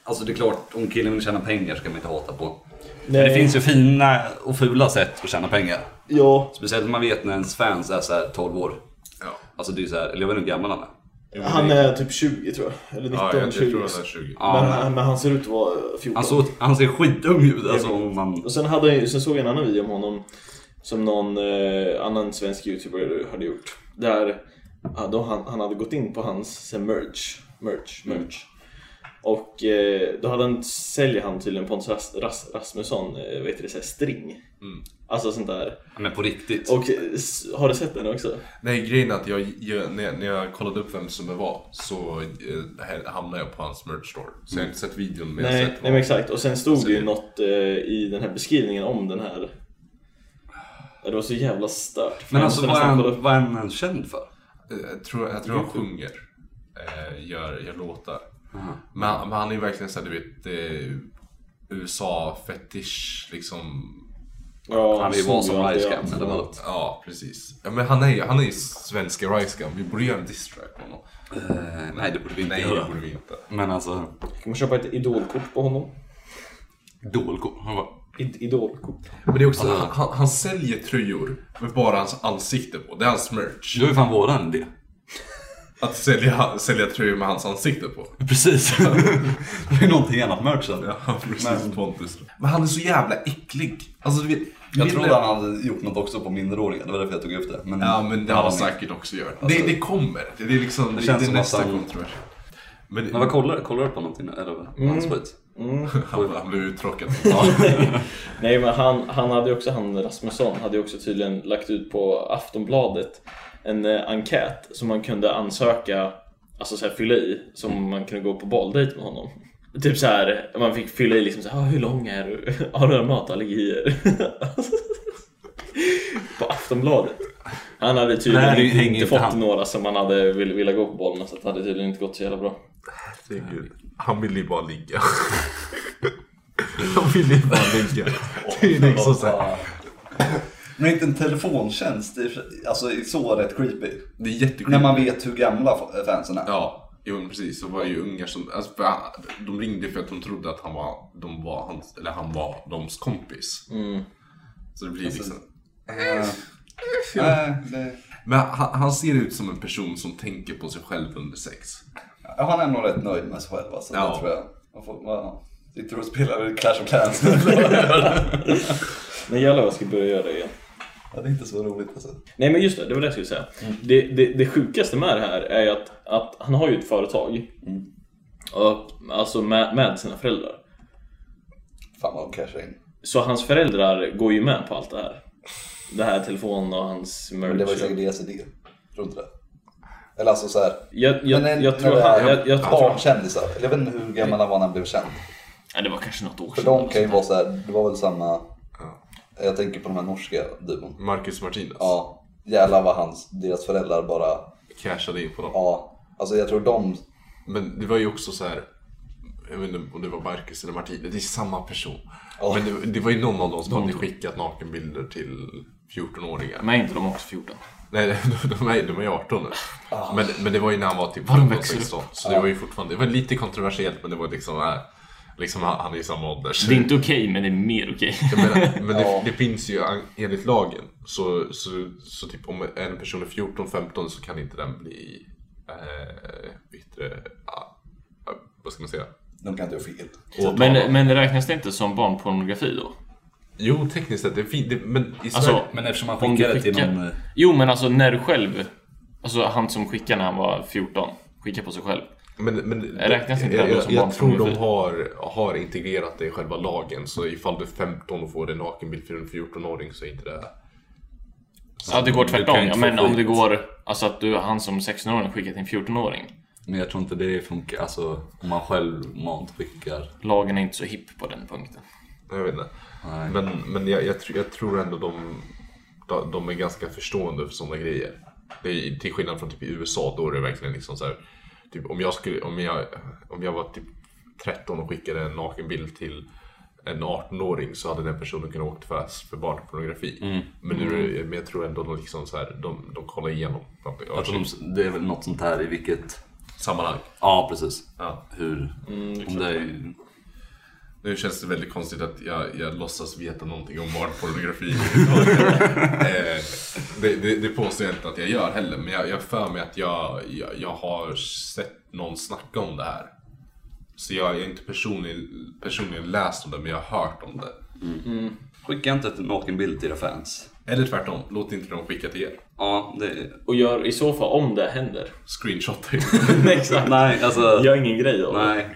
Speaker 2: Alltså det är klart, om killen vill tjäna pengar ska man inte hata på.
Speaker 1: Nej.
Speaker 2: Men det finns ju fina och fula sätt att tjäna pengar.
Speaker 1: Ja,
Speaker 2: Speciellt om man vet när ens fans är så här 12 år.
Speaker 3: Ja.
Speaker 2: Alltså det är så här, eller jag vet inte hur gammal han är.
Speaker 1: han är typ 20 tror jag. Eller 19,
Speaker 3: Ja, jag, jag
Speaker 1: 20.
Speaker 3: tror han är Alltså, 20.
Speaker 1: men, han- men han ser ut att vara 14.
Speaker 2: Han, såg, han ser skitung ut alltså om man...
Speaker 1: Och sen, hade, han ju- sen såg jag en annan video om honom som någon eh, annan svensk youtuber hade gjort. Där ja, då han, han hade gått in på hans så här, merch, merch,
Speaker 2: Mm.
Speaker 1: merch. Och eh, då hade han, säljer han tydligen Pontus Ras, Ras, Rasmusson, eh, vad heter det, så här, string.
Speaker 2: Mm.
Speaker 1: Alltså sånt där.
Speaker 2: Men på riktigt.
Speaker 1: Och eh, s- har du sett den också?
Speaker 3: Nej, grejen är att jag, jag, när, jag, när jag kollade upp vem som det var så eh, här hamnade jag på hans merch store. Så jag har inte sett videon men jag har
Speaker 1: Nej,
Speaker 3: sett
Speaker 1: nej
Speaker 3: vad-
Speaker 1: men exakt. Och sen stod det ju
Speaker 3: Ser-
Speaker 1: något eh, i den här beskrivningen om den här. Ja, Det var så jävla stört.
Speaker 2: men
Speaker 1: Jag
Speaker 2: alltså
Speaker 1: måste
Speaker 2: vad är
Speaker 1: nästan kolla
Speaker 2: han,
Speaker 1: upp.
Speaker 2: vad är han känd för?
Speaker 3: Eh, Jag tror, jag tror han sjunger. Eh, gör, gör låtar. Men, han- men han är ju verkligen såhär du vet eh, USA-fetisch liksom.
Speaker 1: Ja,
Speaker 2: Han är ju vad
Speaker 1: snor
Speaker 2: som
Speaker 1: allt
Speaker 2: Ice
Speaker 1: det,
Speaker 2: Cam
Speaker 1: ja.
Speaker 2: eller vad.
Speaker 3: Ja, precis. Ja, men han är ju han är ju svenska Rice Gum. Vi borde göra en diss-track på honom.
Speaker 2: Eh, Nej det borde vi inte
Speaker 3: Nej, det
Speaker 2: göra.
Speaker 3: borde vi inte.
Speaker 2: Men alltså,
Speaker 1: Kan man köpa ett idolkort på honom?
Speaker 2: idolkort. Han var...
Speaker 1: Id- idolkort?
Speaker 3: Men det är också, han, han, han säljer tröjor med bara hans ansikte på. Det är hans merch.
Speaker 2: Du är fan våran idé.
Speaker 3: Att sälja, sälja tröjor med hans ansikte på.
Speaker 2: Precis. det är någonting annat merch sen.
Speaker 3: Ja, <laughs> precis. Pontus. Men han är så jävla äcklig. Alltså, du vet,
Speaker 2: Jag
Speaker 3: vill-
Speaker 2: trodde han hade gjort något också på minderåriga, det var därför jag tog upp det. Men,
Speaker 3: Ja, men det har han
Speaker 2: han inte.
Speaker 3: säkert också gjort. Alltså- det, det kommer. Det, det är liksom det,
Speaker 2: känns
Speaker 3: det är
Speaker 2: som att
Speaker 3: nästa
Speaker 2: han-
Speaker 3: kontrovers.
Speaker 2: <laughs>
Speaker 3: Men,
Speaker 2: Men vad kollar, kollar du på någonting nu? Eller vad? Alltså, Hans skit?
Speaker 3: han, han blev <laughs> uttråkad.
Speaker 1: Nej men han, han hade ju också, han Rasmusson, hade ju också tydligen lagt ut på Aftonbladet en eh, enkät som man kunde ansöka, alltså så här, fylla i, som man kunde gå på baldejt med honom. Typ så här, man fick fylla i liksom så här, "Ah, hur lång är du? <laughs> Har du matallergier? <laughs> på Aftonbladet. Han hade tydligen
Speaker 2: Nej, det
Speaker 1: inte,
Speaker 2: hänger
Speaker 1: inte
Speaker 2: inte
Speaker 1: fått
Speaker 2: han.
Speaker 1: några som han hade vill, vilja gå på boll med så att det hade tydligen inte gått så jävla bra.
Speaker 3: Han ville ju bara ligga. Han ville ju bara ligga. Det är ju liksom så här.
Speaker 2: <laughs> Men inte en telefontjänst, alltså så rätt creepy.
Speaker 3: Det är jättekul.
Speaker 2: vet hur gamla fansen är.
Speaker 3: Ja, jo men precis. Så var det ju ungar som... Alltså, för, han- de ringde för att de trodde att han var, de var hans, eller han var dems kompis. Så det blir liksom...
Speaker 2: Nej, det...
Speaker 3: Men han, han ser ut som en person som tänker på sig själv under sex.
Speaker 2: Ja, Han är nog rätt nöjd med sig själv alltså,
Speaker 3: Ja.
Speaker 2: det tror jag. Man får, man sitter och spelar Clash of Clans. <laughs>
Speaker 1: Men jävlar vad jag ska börja göra det igen.
Speaker 2: ja, det är inte så roligt alltså.
Speaker 1: Nej men just det, det var det jag skulle säga.
Speaker 5: Mm.
Speaker 1: Det, det, det sjukaste med det här är ju att, att han har ju ett företag.
Speaker 5: Mm.
Speaker 1: Och, alltså med, med sina föräldrar.
Speaker 2: Fan vad de cashar in.
Speaker 1: Så hans föräldrar går ju med på allt det här. Det här telefonen och hans merch.
Speaker 5: Men det var ju säkert deras idé. Tror inte det? Eller alltså såhär...
Speaker 1: Jag, jag,
Speaker 5: Men en-
Speaker 1: jag tror
Speaker 5: när det är
Speaker 1: han... Jag, jag tror,
Speaker 5: Barnkändisar, eller jag vet inte hur gammal han var när han blev känd.
Speaker 1: ja, det var kanske något år
Speaker 5: För
Speaker 1: sedan.
Speaker 5: de kan ju vara såhär, det var väl samma... Jag tänker på de här norska duon.
Speaker 3: Marcus Martinez
Speaker 5: Ja, jävlar vad hans, deras föräldrar bara,
Speaker 3: cashade in på dem.
Speaker 5: ja. Alltså jag tror de,
Speaker 3: Men det var ju också så här. Jag vet inte om det var Marcus eller Martinez, det är samma person.
Speaker 5: Ja.
Speaker 3: Men det, det var ju någon av dem som hade skickat nakenbilder till 14-åringar.
Speaker 1: Men är inte de också 14?
Speaker 3: Nej, <laughs> de, de, är, de är 18 nu. Men, men det var ju när han var typ 15, 16. Så det var ju fortfarande, det var lite kontroversiellt men det var liksom, äh, liksom han han är i samma ålder. Så
Speaker 1: inte okej, men det är mer okej.
Speaker 3: Jag menar, men det, det finns ju enligt lagen så, så, så typ om en person är 14-15 så kan inte den bli eh, yttre, ah, ah, vad ska man säga?
Speaker 5: de kan inte göra fel.
Speaker 3: åtalad.
Speaker 1: men räknas det inte som barnpornografi då?
Speaker 3: Jo, tekniskt sett. Det är fint. Det, men i Sverige...
Speaker 1: Alltså,
Speaker 2: Men eftersom han
Speaker 1: Om du
Speaker 2: skickar det till
Speaker 1: skickar-
Speaker 2: någon... eh,
Speaker 1: Jo men alltså när du själv, alltså han som skickade när han var 14, skickade på sig själv.
Speaker 3: men, men,
Speaker 1: Jag räknas inte
Speaker 3: jag,
Speaker 1: ändå
Speaker 3: jag,
Speaker 1: som
Speaker 3: jag tror de
Speaker 1: barnpornografi.
Speaker 3: har, har integrerat det i själva lagen. Så ifall du är 15 och får en nakenbild från en 14-åring så är inte det
Speaker 7: Ja, det går
Speaker 2: Du
Speaker 7: tvärtom.
Speaker 2: kan
Speaker 7: Ja,
Speaker 2: inte
Speaker 7: men
Speaker 2: få
Speaker 7: om
Speaker 2: skit.
Speaker 7: det går... Alltså att du, han som 16-åring skickar till en 14-åring.
Speaker 2: Men jag tror inte det funkar, alltså om man självmant skickar.
Speaker 7: Lagen är inte så hipp på den punkten.
Speaker 3: Jag vet inte.
Speaker 2: Nej.
Speaker 3: Men, men jag, jag, tror- jag tror ändå de, de- de är ganska förstående för sådana grejer. Det är, till skillnad från typ i USA, då är det verkligen liksom så här, typ, om, jag skulle, om, jag, om jag var typ 13 och skickade en nakenbild till en 18-åring så hade den personen kunnat återfällas för barnpornografi.
Speaker 2: Mm.
Speaker 3: Men, nu, är det- men jag tror ändå de, liksom så här, de, de kollar igenom typ. någonting.
Speaker 2: Jag tror de, det är väl något sånt här i vilket...
Speaker 3: Sammanhang.
Speaker 2: Ja, precis.
Speaker 3: Ja.
Speaker 2: Hur... om Mm, det är ju...
Speaker 3: Nu känns det väldigt konstigt att jag, jag låtsas veta någonting om barnpornografi. eh, det, det, det påstår jag inte att jag gör heller, men jag, jag för mig att jag, jag, jag har sett någon snacka om det här. Så jag har inte personligen, personligen läst om det, men jag har hört om det.
Speaker 2: Skicka inte en nakenbild till era fans.
Speaker 3: Eller tvärtom, låt inte dem skicka till er.
Speaker 2: Ja, det är...
Speaker 1: Och gör i så fall om det händer. <laughs>
Speaker 3: Screenshotta er.
Speaker 1: Nej, exakt.
Speaker 2: Nej, alltså...
Speaker 1: Gör ingen grej av det.
Speaker 2: Nej.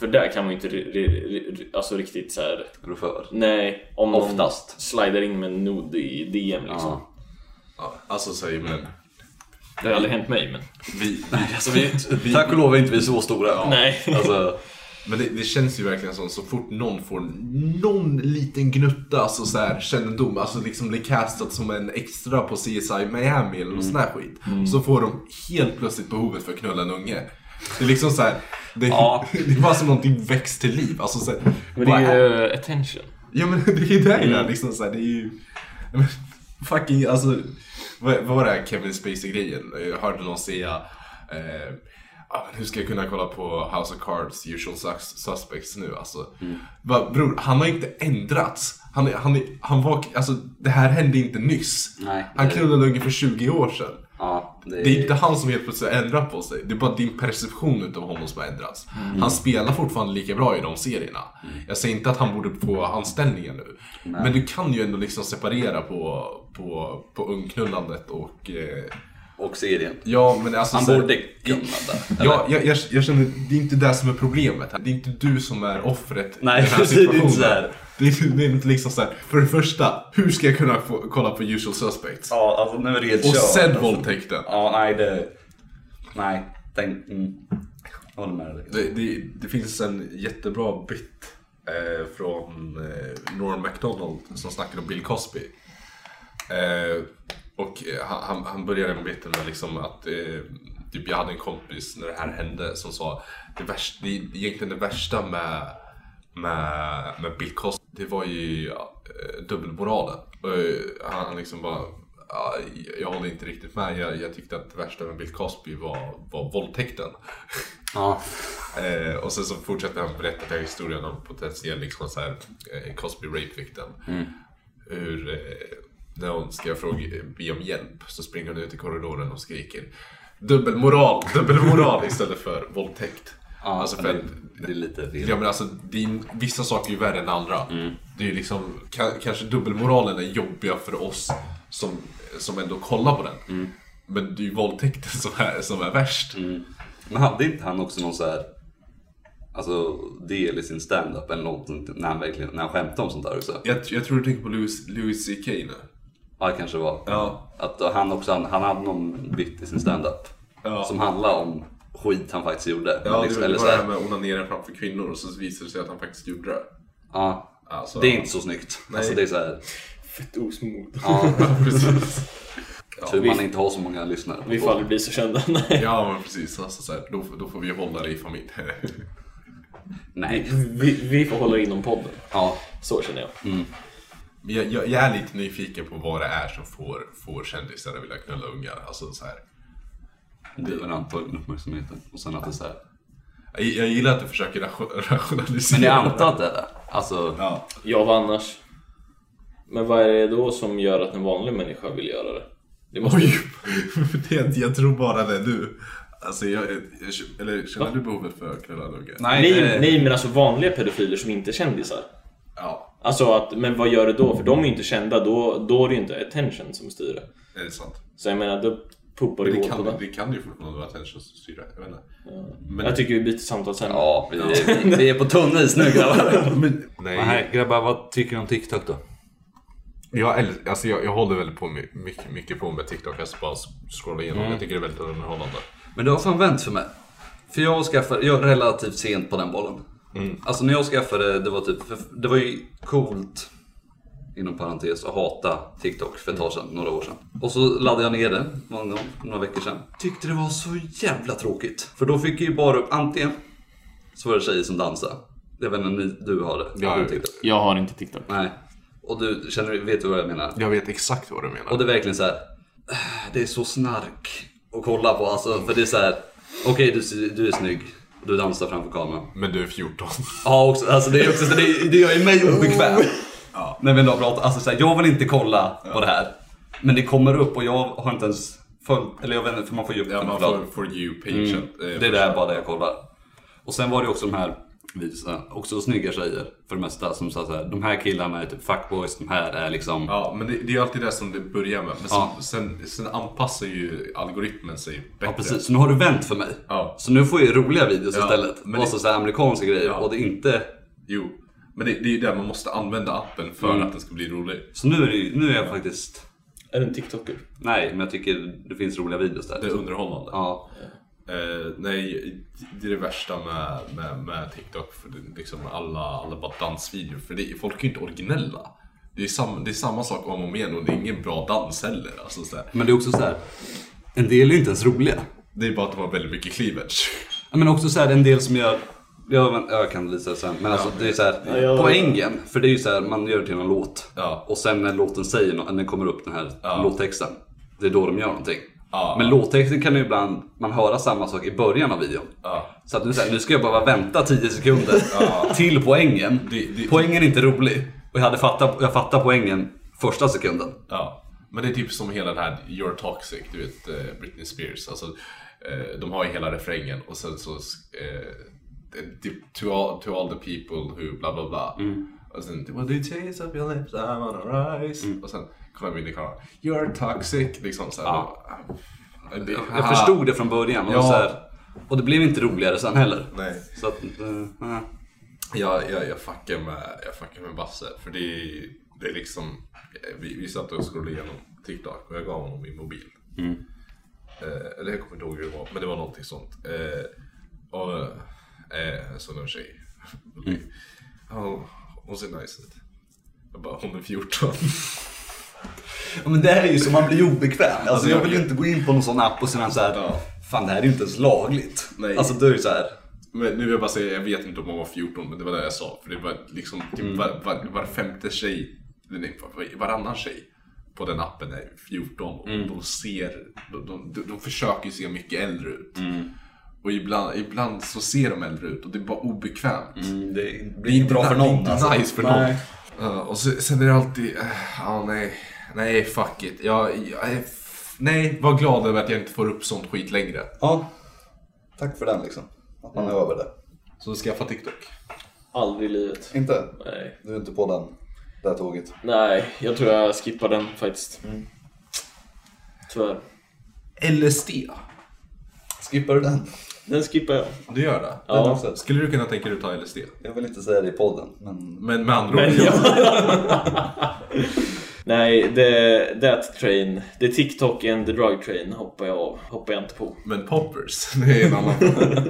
Speaker 1: För där kan man ju inte ri- ri- ri- alltså riktigt så här.
Speaker 2: Är du för?
Speaker 1: Nej, om någon
Speaker 2: Oftast.
Speaker 1: slider in med en nod i DM liksom.
Speaker 2: Ja.
Speaker 3: Ja, alltså säger men
Speaker 1: Det har aldrig hänt mig men...
Speaker 3: vi,
Speaker 2: Nej, alltså,
Speaker 3: vi, vi,
Speaker 2: Tack och lov är inte vi så stora. Ja.
Speaker 1: Nej.
Speaker 2: Alltså,
Speaker 3: Men det, det känns ju verkligen som så fort någon får någon liten gnutta alltså så här, kännedom, alltså liksom blir castat som en extra på CSI Miami eller någon
Speaker 1: Mm.
Speaker 3: sån här skit. Så får de helt plötsligt behovet för att knulla en unge. Det är liksom så här, det,
Speaker 2: Ja.
Speaker 3: <laughs> det är bara som någonting väcks till liv. Alltså så här,
Speaker 1: Men det
Speaker 3: vad
Speaker 1: är
Speaker 3: är-
Speaker 1: ju attention.
Speaker 3: Ja men det är ju det mm. liksom så här, det är ju... Men, fucking alltså... Vad, vad var det här Kevin Spacey-grejen? Jag hörde någon säga... Eh, ah, men hur ska jag kunna kolla på House of Cards usual sus- suspects nu alltså? Va, bror, han har inte ändrats. Han, är- han, är- han var... Alltså det här hände inte nyss.
Speaker 2: Nej,
Speaker 3: han
Speaker 2: det-
Speaker 3: knullade ungen för 20 år sedan.
Speaker 2: ja, det är...
Speaker 3: Det är inte han som helt plötsligt har ändrat på sig. Det är bara din perception utav honom som har ändrats.
Speaker 2: Mm.
Speaker 3: Han spelar fortfarande lika bra i de serierna. Jag säger inte att han borde få anställningen nu. Men du kan ju ändå liksom separera på, på, på ungknullandet och... Eh,
Speaker 2: Och serien.
Speaker 3: ja, men alltså...
Speaker 2: Han
Speaker 3: så här-
Speaker 2: borde kunna det. eller?
Speaker 3: Ja, jag, jag, jag känner, det är inte det som är problemet här. Det är inte du som är offret
Speaker 2: Nej,
Speaker 3: i den här
Speaker 2: precis, det är inte
Speaker 3: situationen.
Speaker 2: så här.
Speaker 3: Det är, det är inte liksom så här. För det första, hur ska jag kunna få, kolla på usual suspects?
Speaker 2: Ja, alltså nu är det helt
Speaker 3: och
Speaker 2: kört,
Speaker 3: sen
Speaker 2: alltså.
Speaker 3: våldtäkten.
Speaker 2: Ja, nej det... Nej, tänk... Mm. Jag håller med dig.
Speaker 3: Det, det, det finns en jättebra bit eh, från eh, Norm MacDonald som snackade om Bill Cosby. Eh, och eh, han- han, han började med biten med liksom att eh, typ jag hade en kompis när det här hände som sa det, värsta, det egentligen det värsta med, med, med Bill Cosby det var ju ja, eh, dubbelmoralen. Och, eh, Han, han liksom bara ja, jag- jag håller inte riktigt med. Jag, jag tyckte att det värsta med Bill Cosby var, var våldtäkten. <laughs>
Speaker 2: Ja.
Speaker 3: Eh, och sen så fortsätter han berätta den här historien om potentiell liksom, så här, eh, Cosby rape victim. Hur, eh, när hon ska fråga, be om hjälp så springer hon ut i korridoren och skriker <laughs> dubbelmoral, dubbelmoral istället för våldtäkt.
Speaker 2: Ja,
Speaker 3: alltså för att,
Speaker 2: det, det är lite fel.
Speaker 3: ja, men alltså, det är, vissa saker är ju värre än andra. Det är ju liksom, ka- kanske dubbelmoralen är jobbiga för oss som, som ändå kollar på den. Men det är ju våldtäkten som är, som är värst.
Speaker 2: Men hade inte han också någon så här... Alltså del i sin stand-up eller någonting när han verkligen när han skämtade om sånt där också.
Speaker 3: Jag, jag tror du tänker på Louis, Louis CK nu.
Speaker 2: Ja, det kanske var.
Speaker 3: Ja.
Speaker 2: Att han också han, han hade någon bit i sin stand-up
Speaker 3: Ja.
Speaker 2: som handlade om skit han faktiskt gjorde.
Speaker 3: Ja,
Speaker 2: liksom,
Speaker 3: det,
Speaker 2: eller
Speaker 3: var
Speaker 2: så
Speaker 3: det
Speaker 2: här,
Speaker 3: här med att onanera framför kvinnor och så visade det sig att han faktiskt gjorde det.
Speaker 2: ja,
Speaker 3: Alltså,
Speaker 2: det är inte så snyggt. Alltså det är så här,
Speaker 1: Fett osmod. <laughs>
Speaker 2: ja,
Speaker 3: precis.
Speaker 2: tur man inte har så många lyssnare.
Speaker 1: Vi får aldrig bli så kända. Nej.
Speaker 3: Ja, men precis. Alltså, så här, då, får- då får vi hålla det i familj. <laughs>
Speaker 2: Nej.
Speaker 1: Vi, vi får hålla inom podden.
Speaker 2: Ja,
Speaker 1: Så känner jag.
Speaker 3: Men jag, jag, jag är lite nyfiken på vad det är som får, får kändisar att vilja knulla ungar. Alltså, så här.
Speaker 2: driver han på uppmärksamheten. Och sen att det är så här.
Speaker 3: Jag, jag gillar att du försöker ratio- rationalisera.
Speaker 2: Men jag antar att det är det. Alltså,
Speaker 3: Ja. <laughs>
Speaker 1: Ja, vad annars? Men vad är det då som gör att en vanlig människa vill göra det? Det måste...
Speaker 3: Oj! det, jag tror bara det nu. Alltså, jag, jag, eller känner du behovet för att knulla en unge?
Speaker 2: nej,
Speaker 1: nej,
Speaker 2: eh,
Speaker 1: nej, men alltså vanliga pedofiler som inte är kändisar.
Speaker 3: Ja,
Speaker 1: Alltså att, men vad gör det då? För de är ju inte kända, då, då är det ju inte attention som styr det.
Speaker 3: är det sant?
Speaker 1: Så jag menar, då pumpar det
Speaker 3: Det
Speaker 1: hål på
Speaker 3: kan,
Speaker 1: det.
Speaker 3: det kan ju fortfarande vara attention styra. Jag vet inte. Men-
Speaker 1: Jag tycker vi byter samtal sen.
Speaker 2: Ja, vi, vi, vi är på tunn is nu grabbar.
Speaker 3: Nej.
Speaker 2: grabbar, vad tycker du om TikTok då?
Speaker 3: Jag, äl- alltså jag, jag håller väldigt på med, mycket, mycket på med TikTok, alltså bara scrolla igenom.
Speaker 2: Mm.
Speaker 3: Jag tycker det är väldigt underhållande.
Speaker 2: Men det har fan vänt för mig. För jag skaffade, jag är relativt sent på den bollen.
Speaker 7: Mm.
Speaker 2: Alltså när jag skaffade, det var typ, för det var ju coolt, inom parentes, att hata TikTok för ett tag sedan, några år sedan. Och så laddade jag ner det någon gång, några veckor sedan. Tyckte det var så jävla tråkigt. För då fick jag ju bara upp, antingen så var det tjejer som dansade. Jag vet inte om ni- du har det?
Speaker 3: Ja,
Speaker 2: du
Speaker 3: jag vet.
Speaker 2: TikTok?
Speaker 7: Jag har inte TikTok.
Speaker 2: Nej. Och du, känner, du- vet du vad jag menar?
Speaker 3: Jag vet exakt vad du menar.
Speaker 2: Och det är verkligen så här. "Äh, Det är så snark att kolla på alltså. För det är så här. Okej du, du är snygg. Du dansar framför kameran.
Speaker 3: Men du är 14.
Speaker 2: Ja också, alltså det är också så det, det gör ju mig
Speaker 3: Oh.
Speaker 2: obekväm. När vi ändå pratar, alltså så här, jag vill inte kolla på det här. Men det kommer upp och jag har inte ens följt, eller jag vet inte för man får ju upp
Speaker 3: <laughs> Ja,
Speaker 2: den
Speaker 3: man
Speaker 2: flödet.
Speaker 3: får for you patient. eh,
Speaker 2: Mm. Det är där bara där jag kollar. Och sen var det också de här videorna, också snygga tjejer för det mesta som sa så här, de här killarna är typ fuckboys, de här är liksom
Speaker 3: Ja, men det, det är ju alltid det som det börjar med. Men sen,
Speaker 2: Ja.
Speaker 3: sen, sen anpassar ju algoritmen sig bättre.
Speaker 2: Ja precis, så nu har du vänt för mig.
Speaker 3: Ja.
Speaker 2: Så nu får jag ju roliga videos
Speaker 3: Ja,
Speaker 2: istället.
Speaker 3: men
Speaker 2: och så,
Speaker 3: det-
Speaker 2: så här amerikanska grejer. Och det är inte...
Speaker 3: Jo, men det, det är ju där man måste använda appen för
Speaker 2: Mm.
Speaker 3: att den ska bli rolig.
Speaker 2: Så nu är, det, ju- nu är jag faktiskt...
Speaker 1: Är du en TikToker?
Speaker 2: Nej, men jag tycker det finns roliga videos där.
Speaker 3: Det är underhållande.
Speaker 2: Ja.
Speaker 3: Eh, nej, det är det värsta med, med, med TikTok. För det, är liksom alla, alla bara dansvideor. För det, är- folk är ju inte originella. Det är, sam, det är samma sak om och om igen och det är ingen bra dans heller. Alltså, så här.
Speaker 2: Men det är också så här. En del är ju inte ens roliga.
Speaker 3: Det är bara att det var väldigt mycket cleavage.
Speaker 2: Ja, Men också så här, en del som gör... Jag, men, jag kan visa det sen. Men alltså det är så här,
Speaker 1: jag-
Speaker 2: poängen. För det är ju så här, man gör det till en låt.
Speaker 3: Ja.
Speaker 2: Och sen när låten säger nå- när det kommer upp den här låttexten. Det är då de gör någonting.
Speaker 3: Ja.
Speaker 2: Men låttexten kan ju ibland, man höra samma sak i början av videon.
Speaker 3: Ja.
Speaker 2: Så att nu, så här, nu ska jag behöva vänta 10 sekunder till poängen.
Speaker 3: Det- det-
Speaker 2: Poängen är inte rolig. Och jag, hade fattat, jag fattar poängen första sekunden.
Speaker 3: Ja, men det är typ som hela den här You're Toxic, du vet eh, Britney Spears. Alltså, eh, de har ju hela refrängen och sen så... eh, det- Typ to all, to all the people who bla bla bla.
Speaker 2: Mm.
Speaker 3: Och sen What do you taste of your lips, I'm on a rise.
Speaker 2: Mm.
Speaker 3: Och sen kommer vi in i kameran. You're toxic. Liksom så här, och, det,
Speaker 2: Jag förstod det från början. Och,
Speaker 3: Ja.
Speaker 2: så här, och det blev inte roligare sen heller.
Speaker 3: Nej.
Speaker 2: Så att, eh, eh.
Speaker 3: Jag, jag, jag, fuckar med, jag fuckar med Basse. För det är, det är liksom... Vi, vi satt och scrollade igenom TikTok och jag gav honom min mobil. Eh, eller jag kommer inte ihåg hur det var, men det var någonting sånt. Eh, och eh, jag såg en tjej. Ja, hon ser nice ut. Jag bara, hon är 14.
Speaker 2: Ja, men det här är ju så man blir obekväm. Alltså, jag vill ju inte gå in på någon sån app och sen så här,
Speaker 3: Ja.
Speaker 2: fan det här är ju inte ens lagligt.
Speaker 3: Nej.
Speaker 2: Alltså då är det så här,
Speaker 3: men nu vill jag bara säga, jag vet inte om hon var 14, men det var det jag sa. För det var liksom typ
Speaker 2: Mm.
Speaker 3: var, var, var femte tjej, eller nej, var, varannan tjej på den appen är 14
Speaker 2: Mm.
Speaker 3: och de ser, de, de, de, de försöker ju se mycket äldre ut.
Speaker 2: Mm.
Speaker 3: Och ibland, ibland så ser de äldre ut och det är bara obekvämt.
Speaker 2: det
Speaker 3: Det är
Speaker 2: blir inte
Speaker 3: inte
Speaker 2: Mm. bra för någon.
Speaker 3: Inte
Speaker 2: alltså.
Speaker 3: nice för någon. Ja, och så, sen är det alltid, eh, ja nej, nej fuck it. Jag, jag, är f- nej, var glad över att jag inte får upp sånt skit längre.
Speaker 5: Ja, tack för den liksom. Att man är
Speaker 1: Mm.
Speaker 5: över det.
Speaker 3: Så skaffa TikTok.
Speaker 1: Aldrig i livet.
Speaker 5: Inte?
Speaker 1: Nej.
Speaker 5: Du är inte på den, det här tåget.
Speaker 1: Nej, jag tror jag skippar den faktiskt. Tyvärr.
Speaker 3: LSD.
Speaker 5: Skippar du den?
Speaker 1: Den skippar jag.
Speaker 3: Du gör det?
Speaker 5: Den
Speaker 1: Ja.
Speaker 5: också?
Speaker 3: Skulle du kunna tänka dig att ta LSD?
Speaker 5: Jag vill inte säga det i podden, men
Speaker 3: Men med andra
Speaker 1: Men
Speaker 3: ord,
Speaker 1: jag...
Speaker 5: <laughs>
Speaker 1: <laughs> Nej, the, that train, the TikTok and the drug train hoppar jag av. Hoppar jag inte på.
Speaker 3: men poppers, <laughs> det är en annan fråga.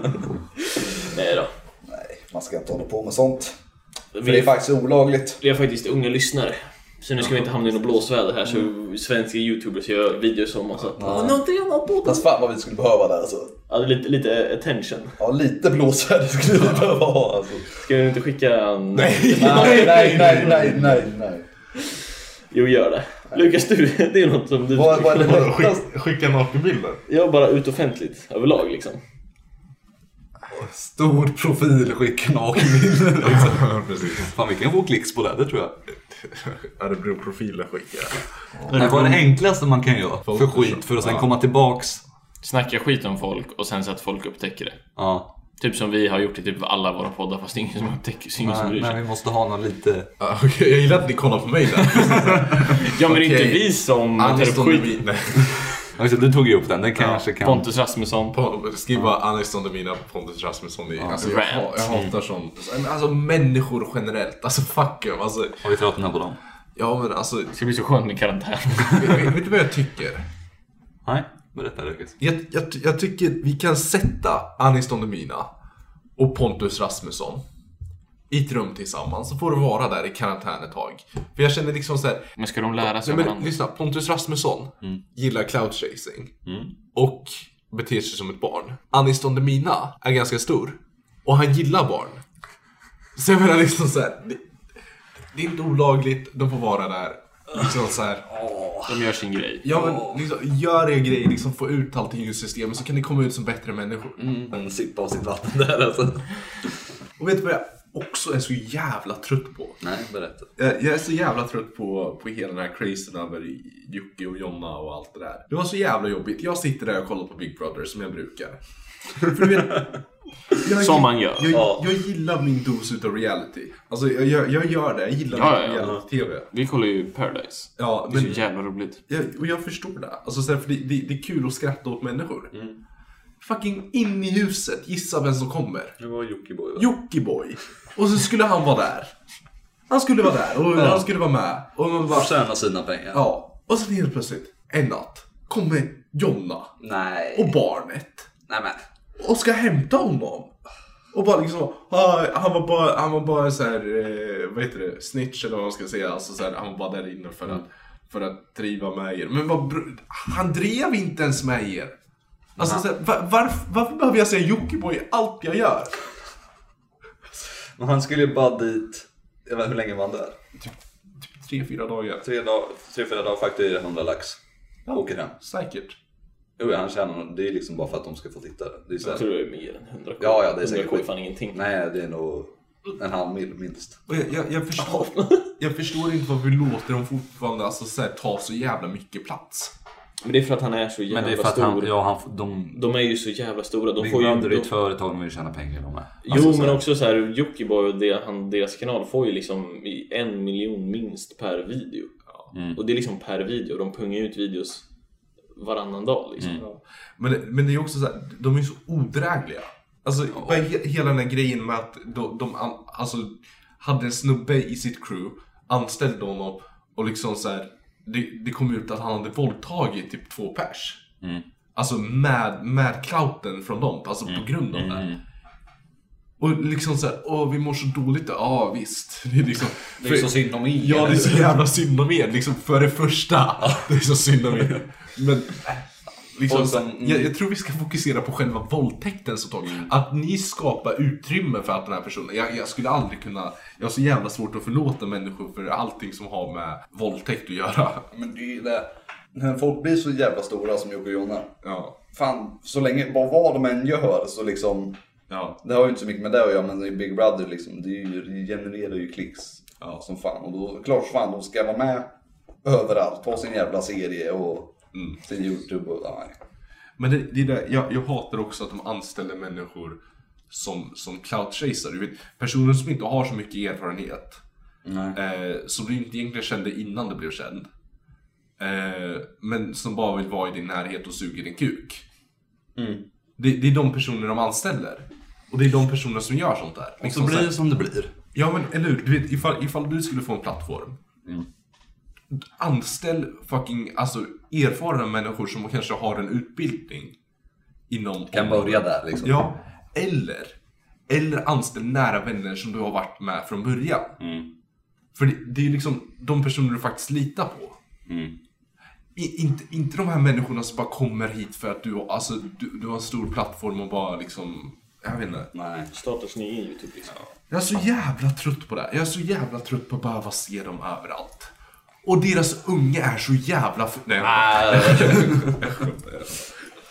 Speaker 1: Nej då.
Speaker 5: nej, man ska inte hålla på med sånt. För det
Speaker 1: Vi,
Speaker 5: är faktiskt olagligt.
Speaker 1: vi har faktiskt unga lyssnare. Så nu ska vi inte hamna i något blåsväder här så svenska youtubers gör videos om oss. att, "Åh, Nu har inte jag någon på den."
Speaker 5: Fast fan vad vi skulle behöva där alltså.
Speaker 1: Ja, lite, lite attention.
Speaker 5: Ja, lite blåsväder <laughs> skulle vi behöva ha alltså.
Speaker 1: Ska vi inte skicka en... Nej!
Speaker 5: Nej, nej, nej, nej, nej, nej.
Speaker 1: Jo, gör det. Lukas, du, det är något som du...
Speaker 5: Vad, vad är det lättaste?
Speaker 3: Skicka nakenbilder.
Speaker 1: Jag bara ut offentligt överlag liksom.
Speaker 2: Stor profil, skicka nakenbilder. liksom.
Speaker 3: Ja, precis.
Speaker 2: Fan vi kan få klicks på det, det tror jag.
Speaker 3: Örebro-profiler skickar
Speaker 2: Det här var det enklaste man kan göra för
Speaker 3: Photoshop.
Speaker 2: skit för att sen komma tillbaks.
Speaker 7: Snacka skit om folk och sen så att folk upptäcker det.
Speaker 2: Ja.
Speaker 7: Typ som vi har gjort i typ alla våra poddar fast det är ingen som upptäcker så ingen som bryr
Speaker 2: Men
Speaker 7: sig.
Speaker 2: vi måste ha någon lite...
Speaker 3: Ah, okej, Jag gillar att ni kollar på mig där.
Speaker 7: Ja men det är
Speaker 3: Okej.
Speaker 7: inte vi som tar
Speaker 3: Anis
Speaker 7: upp
Speaker 3: Don
Speaker 7: skit.
Speaker 3: Demina.
Speaker 2: Ja, just det, du tog ju upp den, den kanske kan...
Speaker 7: Pontus Rasmusson.
Speaker 3: <laughs> Po- Skriv bara Anis Don Demina, Pontus Rasmusson. i- Alltså, jag, ha-
Speaker 7: rant.
Speaker 3: jag hatar sånt. Men Alltså människor generellt. Alltså fuck dem. Alltså,
Speaker 2: Har vi tröttnat på dem?
Speaker 3: Ja men alltså,
Speaker 7: Det ska bli så skönt med
Speaker 2: <laughs>
Speaker 7: karantän.
Speaker 3: vet, vet du vad jag tycker?
Speaker 2: Nej, berätta Lukas.
Speaker 3: Jag, jag, jag tycker vi kan sätta Anis Don Demina och Pontus Rasmusson i ett rum tillsammans, så får du vara där i karantän ett tag. För jag känner liksom såhär,
Speaker 7: Men ska de lära sig
Speaker 3: nej
Speaker 7: av
Speaker 3: men
Speaker 7: varandra?
Speaker 3: lyssna, Pontus Rasmusson gillar cloud chasing och beter sig som ett barn. Anis Don Demina är ganska stor och han gillar barn. Så jag menar liksom såhär, det, det är inte olagligt, de får vara där. Liksom så här,
Speaker 7: De gör sin grej.
Speaker 3: Ja men liksom, gör er grej, liksom få ut allting ur systemet så kan ni komma ut som bättre människor.
Speaker 2: En sippa av sitt vatten där alltså.
Speaker 3: Och vet du vad jag också är så jävla trött på?
Speaker 2: Nej, berätta.
Speaker 3: Jag jag är så jävla trött på, på hela den här crazen över Jocke och Jonna och allt det där. Det var så jävla jobbigt. Jag sitter där och kollar på Big Brother som jag brukar. För <laughs> du vet, jag,
Speaker 7: Som man gör.
Speaker 3: Jag, jag gillar min dos utav reality. Alltså jag, jag, jag gör det, jag gillar
Speaker 7: Ja,
Speaker 3: mitt
Speaker 7: ja, ja.
Speaker 3: reality-tv.
Speaker 7: Vi kollar ju Paradise.
Speaker 3: Ja,
Speaker 7: Det är
Speaker 3: men
Speaker 7: så jävla roligt.
Speaker 3: Ja, och jag förstår det. Alltså, så här, för det, det, det är kul att skratta åt människor. Fucking in i huset, gissa vem som kommer.
Speaker 2: Det var Jockiboi va?
Speaker 3: Jockiboi. Och så skulle han vara där. Han skulle vara där och han skulle vara med. Och man bara,
Speaker 2: Och tjäna sina pengar.
Speaker 3: ja. Och sen helt plötsligt, en natt, kommer Jonna
Speaker 2: Nej.
Speaker 3: och barnet
Speaker 2: Nej men.
Speaker 3: och ska hämta honom. Och bara liksom, ah, han var bara, han var bara så här, eh, vad heter det, snitch eller vad man ska säga. Alltså så här, han var bara där inne för att, för att driva med er. Men vad, br- han drev inte ens med er. Alltså så här, va- varför, varför behöver jag säga Jockiboi i allt jag gör?
Speaker 2: Men han skulle ju bara dit. Jag vet hur länge var han där?
Speaker 3: Typ Tre, fyra dagar.
Speaker 2: Tre, dag, tre fyra dagar, fakturera 100 lax. Åker hem.
Speaker 3: Säkert.
Speaker 2: Jo, han tjänar Det är liksom bara för att de ska få tittare. Det är så
Speaker 7: Jag
Speaker 2: här,
Speaker 7: tror det är mer än 100 k.
Speaker 2: Ja, ja, det
Speaker 7: 100
Speaker 2: är säkert
Speaker 7: k är
Speaker 2: skit.
Speaker 7: fan ingenting.
Speaker 2: Nej, det är nog en halv mil minst.
Speaker 3: Och jag, jag, jag, förstår, jag förstår inte varför vi låter dem fortfarande alltså, så här, ta så jävla mycket plats.
Speaker 1: Men det är för att han är så jävla
Speaker 2: Men det är för att
Speaker 1: stor.
Speaker 2: han, ja, han, de,
Speaker 1: De är ju så jävla stora. De
Speaker 2: Big
Speaker 1: får ju...
Speaker 2: Brother är Alltså,
Speaker 1: De...
Speaker 2: ett företag, de vill tjäna pengar de med.
Speaker 1: Jo, men också så här, Jockiboi och det, han, deras kanal får ju liksom i en miljon minst per video.
Speaker 7: Mm.
Speaker 1: Och det är liksom per video. De pungar ut videos varannan dag liksom.
Speaker 2: Mm.
Speaker 3: Men, men det är också så här, de är ju så odrägliga. Alltså bara he, hela den här grejen med att de, de an, alltså, hade en snubbe i sitt crew, anställde honom och liksom så här, det, det kom ut att han hade våldtagit typ två pers.
Speaker 2: Mm.
Speaker 3: Alltså med, med clouten från dem, alltså
Speaker 2: Mm.
Speaker 3: på grund av det. Och liksom såhär, åh vi mår så dåligt då. Ja visst. Det är liksom,
Speaker 2: Det är så synd om er.
Speaker 3: Ja, det är
Speaker 2: <laughs>
Speaker 3: så jävla synd om er. Liksom, för det första, det är så synd om er. Men, äh, liksom,
Speaker 2: Och sen- mm.
Speaker 3: jag, jag tror vi ska fokusera på själva våldtäkten så tag. Att ni skapar utrymme för att den här personen... Jag, jag skulle aldrig kunna... Jag har så jävla svårt att förlåta människor för allting som har med våldtäkt att göra.
Speaker 5: Men det är ju det. När folk blir så jävla stora som Jocke och Jonna.
Speaker 3: Ja.
Speaker 5: Fan, så länge, bara vad de än gör så liksom.
Speaker 3: Ja.
Speaker 5: Det har ju inte så mycket med det att göra men i Big Brother liksom, det, är ju, det genererar ju klicks.
Speaker 3: Ja.
Speaker 5: Som fan. Och då, klart som fan, de ska vara med överallt. Ha sin jävla serie och sin YouTube och nej.
Speaker 3: Men det, det är det, jag, jag hatar också att de anställer människor som, som cloud-chaser. Du vet, personer som inte har så mycket erfarenhet. Eh, som du inte egentligen kände innan du blev känd. Eh, men som bara vill vara i din närhet och suger din kuk.
Speaker 2: Mm.
Speaker 3: Det, det är de personer de anställer. Och det är de personer som gör sånt där.
Speaker 2: Och så
Speaker 3: Liksom
Speaker 2: blir
Speaker 3: så här-
Speaker 2: det som det blir.
Speaker 3: Ja men eller hur, du vet ifall, ifall du skulle få en plattform. Anställ fucking alltså erfarna människor som kanske har en utbildning. Inom
Speaker 2: Kan börja där liksom.
Speaker 3: Ja, eller, eller anställ nära vänner som du har varit med från början. För det, det är ju liksom de personer du faktiskt litar på. I, inte, inte de här människorna som bara kommer hit för att du, har- alltså, du, du har en stor plattform och bara liksom, jag vet inte.
Speaker 2: Nej.
Speaker 1: Startar sin egen YouTube liksom.
Speaker 3: Jag är så jävla trött på det. här. Jag är så jävla trött på att behöva se dem överallt. Och deras unge är så jävla... F- Nej,
Speaker 2: <laughs>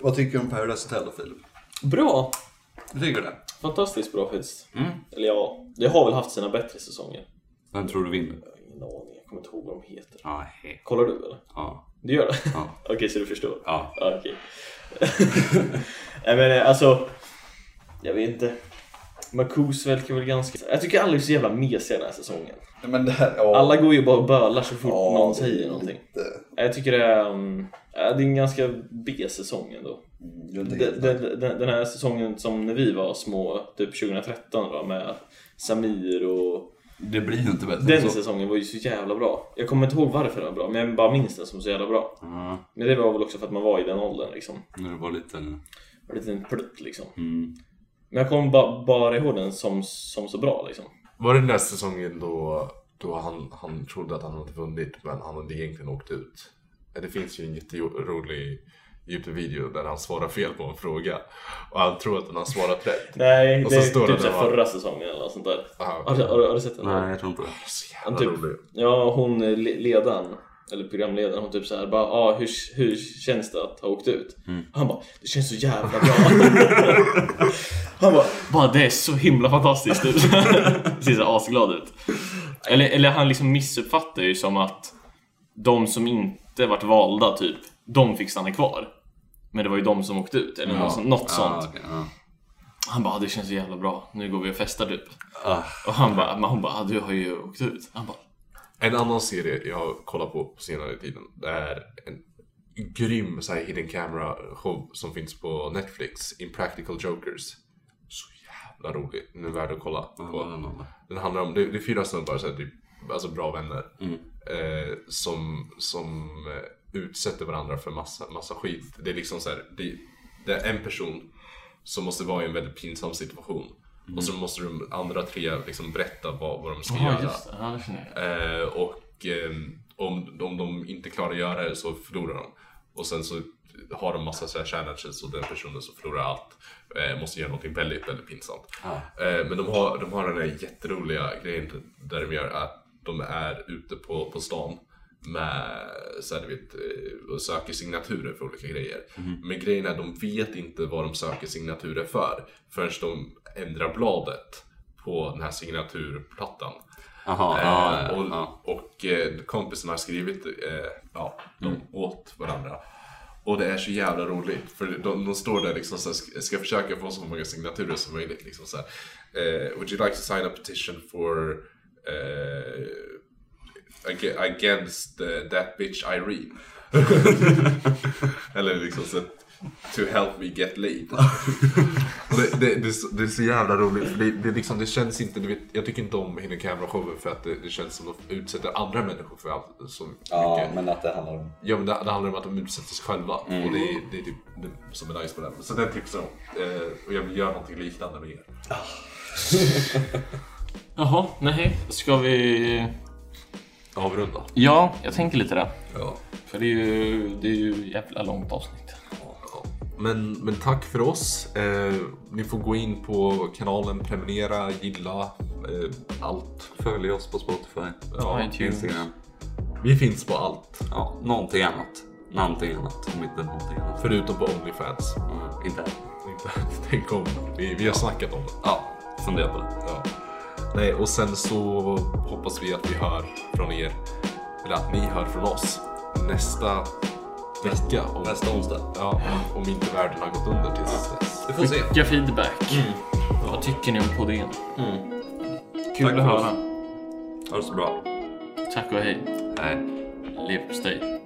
Speaker 2: Vad tycker du om Paradise Hotel då Filip?
Speaker 1: Bra!
Speaker 2: Tycker du det? Mm.
Speaker 1: Fantastiskt bra faktiskt. Eller ja, det har väl haft sina bättre säsonger.
Speaker 2: Vem tror du
Speaker 1: Jag
Speaker 2: vinner?
Speaker 1: har ingen aning, jag kommer inte ihåg vad de heter.
Speaker 2: Nej.
Speaker 1: Kollar du eller?
Speaker 2: Ja.
Speaker 1: Du gör det?
Speaker 2: Ja.
Speaker 1: <laughs> Okej, så du förstår?
Speaker 2: Ja.
Speaker 1: Okej. <laughs> Nej men eh, alltså, jag vet inte. Marcus verkar väl ganska... Jag tycker alla är så jävla mesiga den här säsongen.
Speaker 5: Nej, Men det här, ja.
Speaker 1: Alla går ju bara och bölar så fort
Speaker 5: Ja,
Speaker 1: någon
Speaker 5: det är
Speaker 1: säger någonting.
Speaker 5: lite-
Speaker 1: Jag tycker det är, mm, ja, det är en ganska B-säsong ändå.
Speaker 5: jag vet inte.
Speaker 1: Den, den, den den här säsongen som när vi var små, typ 2013 då, med Samir och
Speaker 2: Det blir ju inte bättre än
Speaker 1: Den
Speaker 2: så.
Speaker 1: säsongen var ju så jävla bra. Jag kommer inte ihåg varför den var bra, men jag bara minns den som så jävla bra.
Speaker 2: Ja,
Speaker 1: Men det var väl också för att man var i den åldern liksom.
Speaker 2: när du var liten.
Speaker 1: En liten plutt liksom.
Speaker 2: Mm.
Speaker 1: Men jag kommer bara, bara ihåg den som, som så bra liksom.
Speaker 3: Var det den där säsongen då, då han, han trodde att han hade vunnit men han hade egentligen åkt ut? Det finns ju en jätterolig Youtube-video där han svarar fel på en fråga och han tror att han har svarat rätt.
Speaker 1: Nej,
Speaker 3: Och
Speaker 1: det
Speaker 3: så
Speaker 1: är
Speaker 3: står det
Speaker 1: typ så här
Speaker 3: där, va?
Speaker 1: förra säsongen eller något sånt där.
Speaker 3: Ah,
Speaker 1: Har,
Speaker 3: okay.
Speaker 1: du- har, du- har du sett den?
Speaker 2: Nej, jag tror inte det.
Speaker 3: Så
Speaker 1: Han
Speaker 3: jävla
Speaker 1: typ,
Speaker 3: rolig.
Speaker 1: ja, hon eh, le- ledaren, eller programledaren, hon typ såhär bara ah, hur, hur känns det att ha åkt ut?
Speaker 2: Mm.
Speaker 1: Han bara, det känns så jävla
Speaker 2: <laughs>
Speaker 1: bra. han bara,
Speaker 7: Bara det är så himla
Speaker 2: <laughs>
Speaker 7: fantastiskt ut. Ser så asglad ut. Eller, eller han liksom missuppfattar ju som att de som inte vart valda typ, de fick stanna kvar. Men det var ju de som åkte ut, eller något, sånt- något sånt.
Speaker 2: Ja, Ah, okej, ja.
Speaker 7: Han bara, "Ah, det känns så jävla bra, nu går vi och festar typ.
Speaker 2: Ah.
Speaker 7: Och han bara, men hon bara, "Ah, du har ju åkt ut. Han bara,
Speaker 3: En annan serie jag har kollat på på senare tiden det är en grym så här, hidden camera show som finns på Netflix, Impractical Jokers. Så jävla rolig, den är värd att kolla på.
Speaker 2: Vad var det någon?
Speaker 3: Den handlar om, det, det är fyra snubbar, så här, typ, alltså bra vänner. Eh, som som eh, utsätter varandra för massa, massa skit. Det är liksom så här, det, det är en person som måste vara i en väldigt pinsam situation. Och så måste de andra tre liksom berätta vad, vad de ska
Speaker 7: ja
Speaker 3: göra.
Speaker 7: just det, ja, det känner jag.
Speaker 3: Eh, och eh, om, om de inte klarar att göra det så förlorar de. Och sen så har de massa så här challenges och den personen som förlorar allt eh, måste göra någonting väldigt, väldigt pinsamt. Eh, men de har, de har den här jätteroliga grejen där de gör att de är ute på, på stan med, så här, du vet, eh, och söker signaturer för olika grejer. Men grejen är att de vet inte vad de söker signaturer för förrän de ändrar bladet på den här signaturplattan.
Speaker 2: Jaha, ja,
Speaker 3: Eh,
Speaker 2: ja,
Speaker 3: och,
Speaker 2: ja.
Speaker 3: och eh, kompisarna har skrivit, eh, ja, de
Speaker 2: Mm.
Speaker 3: åt varandra. Och det är så jävla roligt, för de, de står där liksom så här, ska- ska försöka få så många signaturer som möjligt. Liksom så här. Eh, would you like to sign a petition for eh, ag- against eh, that bitch Irene? Eller liksom så här, to help me get laid. Och <laughs> det, det, det, är så, det är så jävla roligt. För det, det, är liksom, det känns inte, du vet, jag tycker inte om hidden camera-shower för att det, det känns som att de utsätter andra människor för allt så mycket.
Speaker 5: Ja, men Mm. att det handlar om...
Speaker 3: Ja, men det, det handlar om att de utsätter sig själva. Och det är, det är typ det som är nice med den. Så den tipsar jag om. Eh, och jag vill göra någonting liknande med er.
Speaker 7: Jaha, nej, ska vi...
Speaker 3: Avrunda.
Speaker 7: Ja, jag tänker lite där.
Speaker 3: Ja.
Speaker 7: För det är ju, det är ju jävla långt avsnitt.
Speaker 3: Men, men tack för oss. Eh, ni får gå in på kanalen, prenumerera, gilla, eh, allt.
Speaker 2: Följ oss på Spotify,
Speaker 3: Ja,
Speaker 7: iTunes.
Speaker 2: Instagram.
Speaker 3: Vi finns på allt.
Speaker 2: Ja, någonting annat. Någonting annat. Om inte någonting annat.
Speaker 3: Förutom på Onlyfans. <laughs>
Speaker 2: Ja, inte än.
Speaker 3: Inte- Tänk om. Vi, vi har snackat om det.
Speaker 2: Ja, fundera på det.
Speaker 3: Ja. Nej, och sen så hoppas vi att vi hör från er, eller att ni hör från oss nästa vecka. Om,
Speaker 2: Nästa onsdag.
Speaker 3: Ja, om inte världen har gått under tills dess.
Speaker 2: Vi får se. Mm.
Speaker 7: Skicka feedback. Vad tycker ni om podden? Kul
Speaker 2: Tack
Speaker 7: att
Speaker 2: för oss.
Speaker 7: höra.
Speaker 2: Ha det så bra.
Speaker 7: Tack och hej.
Speaker 2: Hej.
Speaker 7: Leverpastej.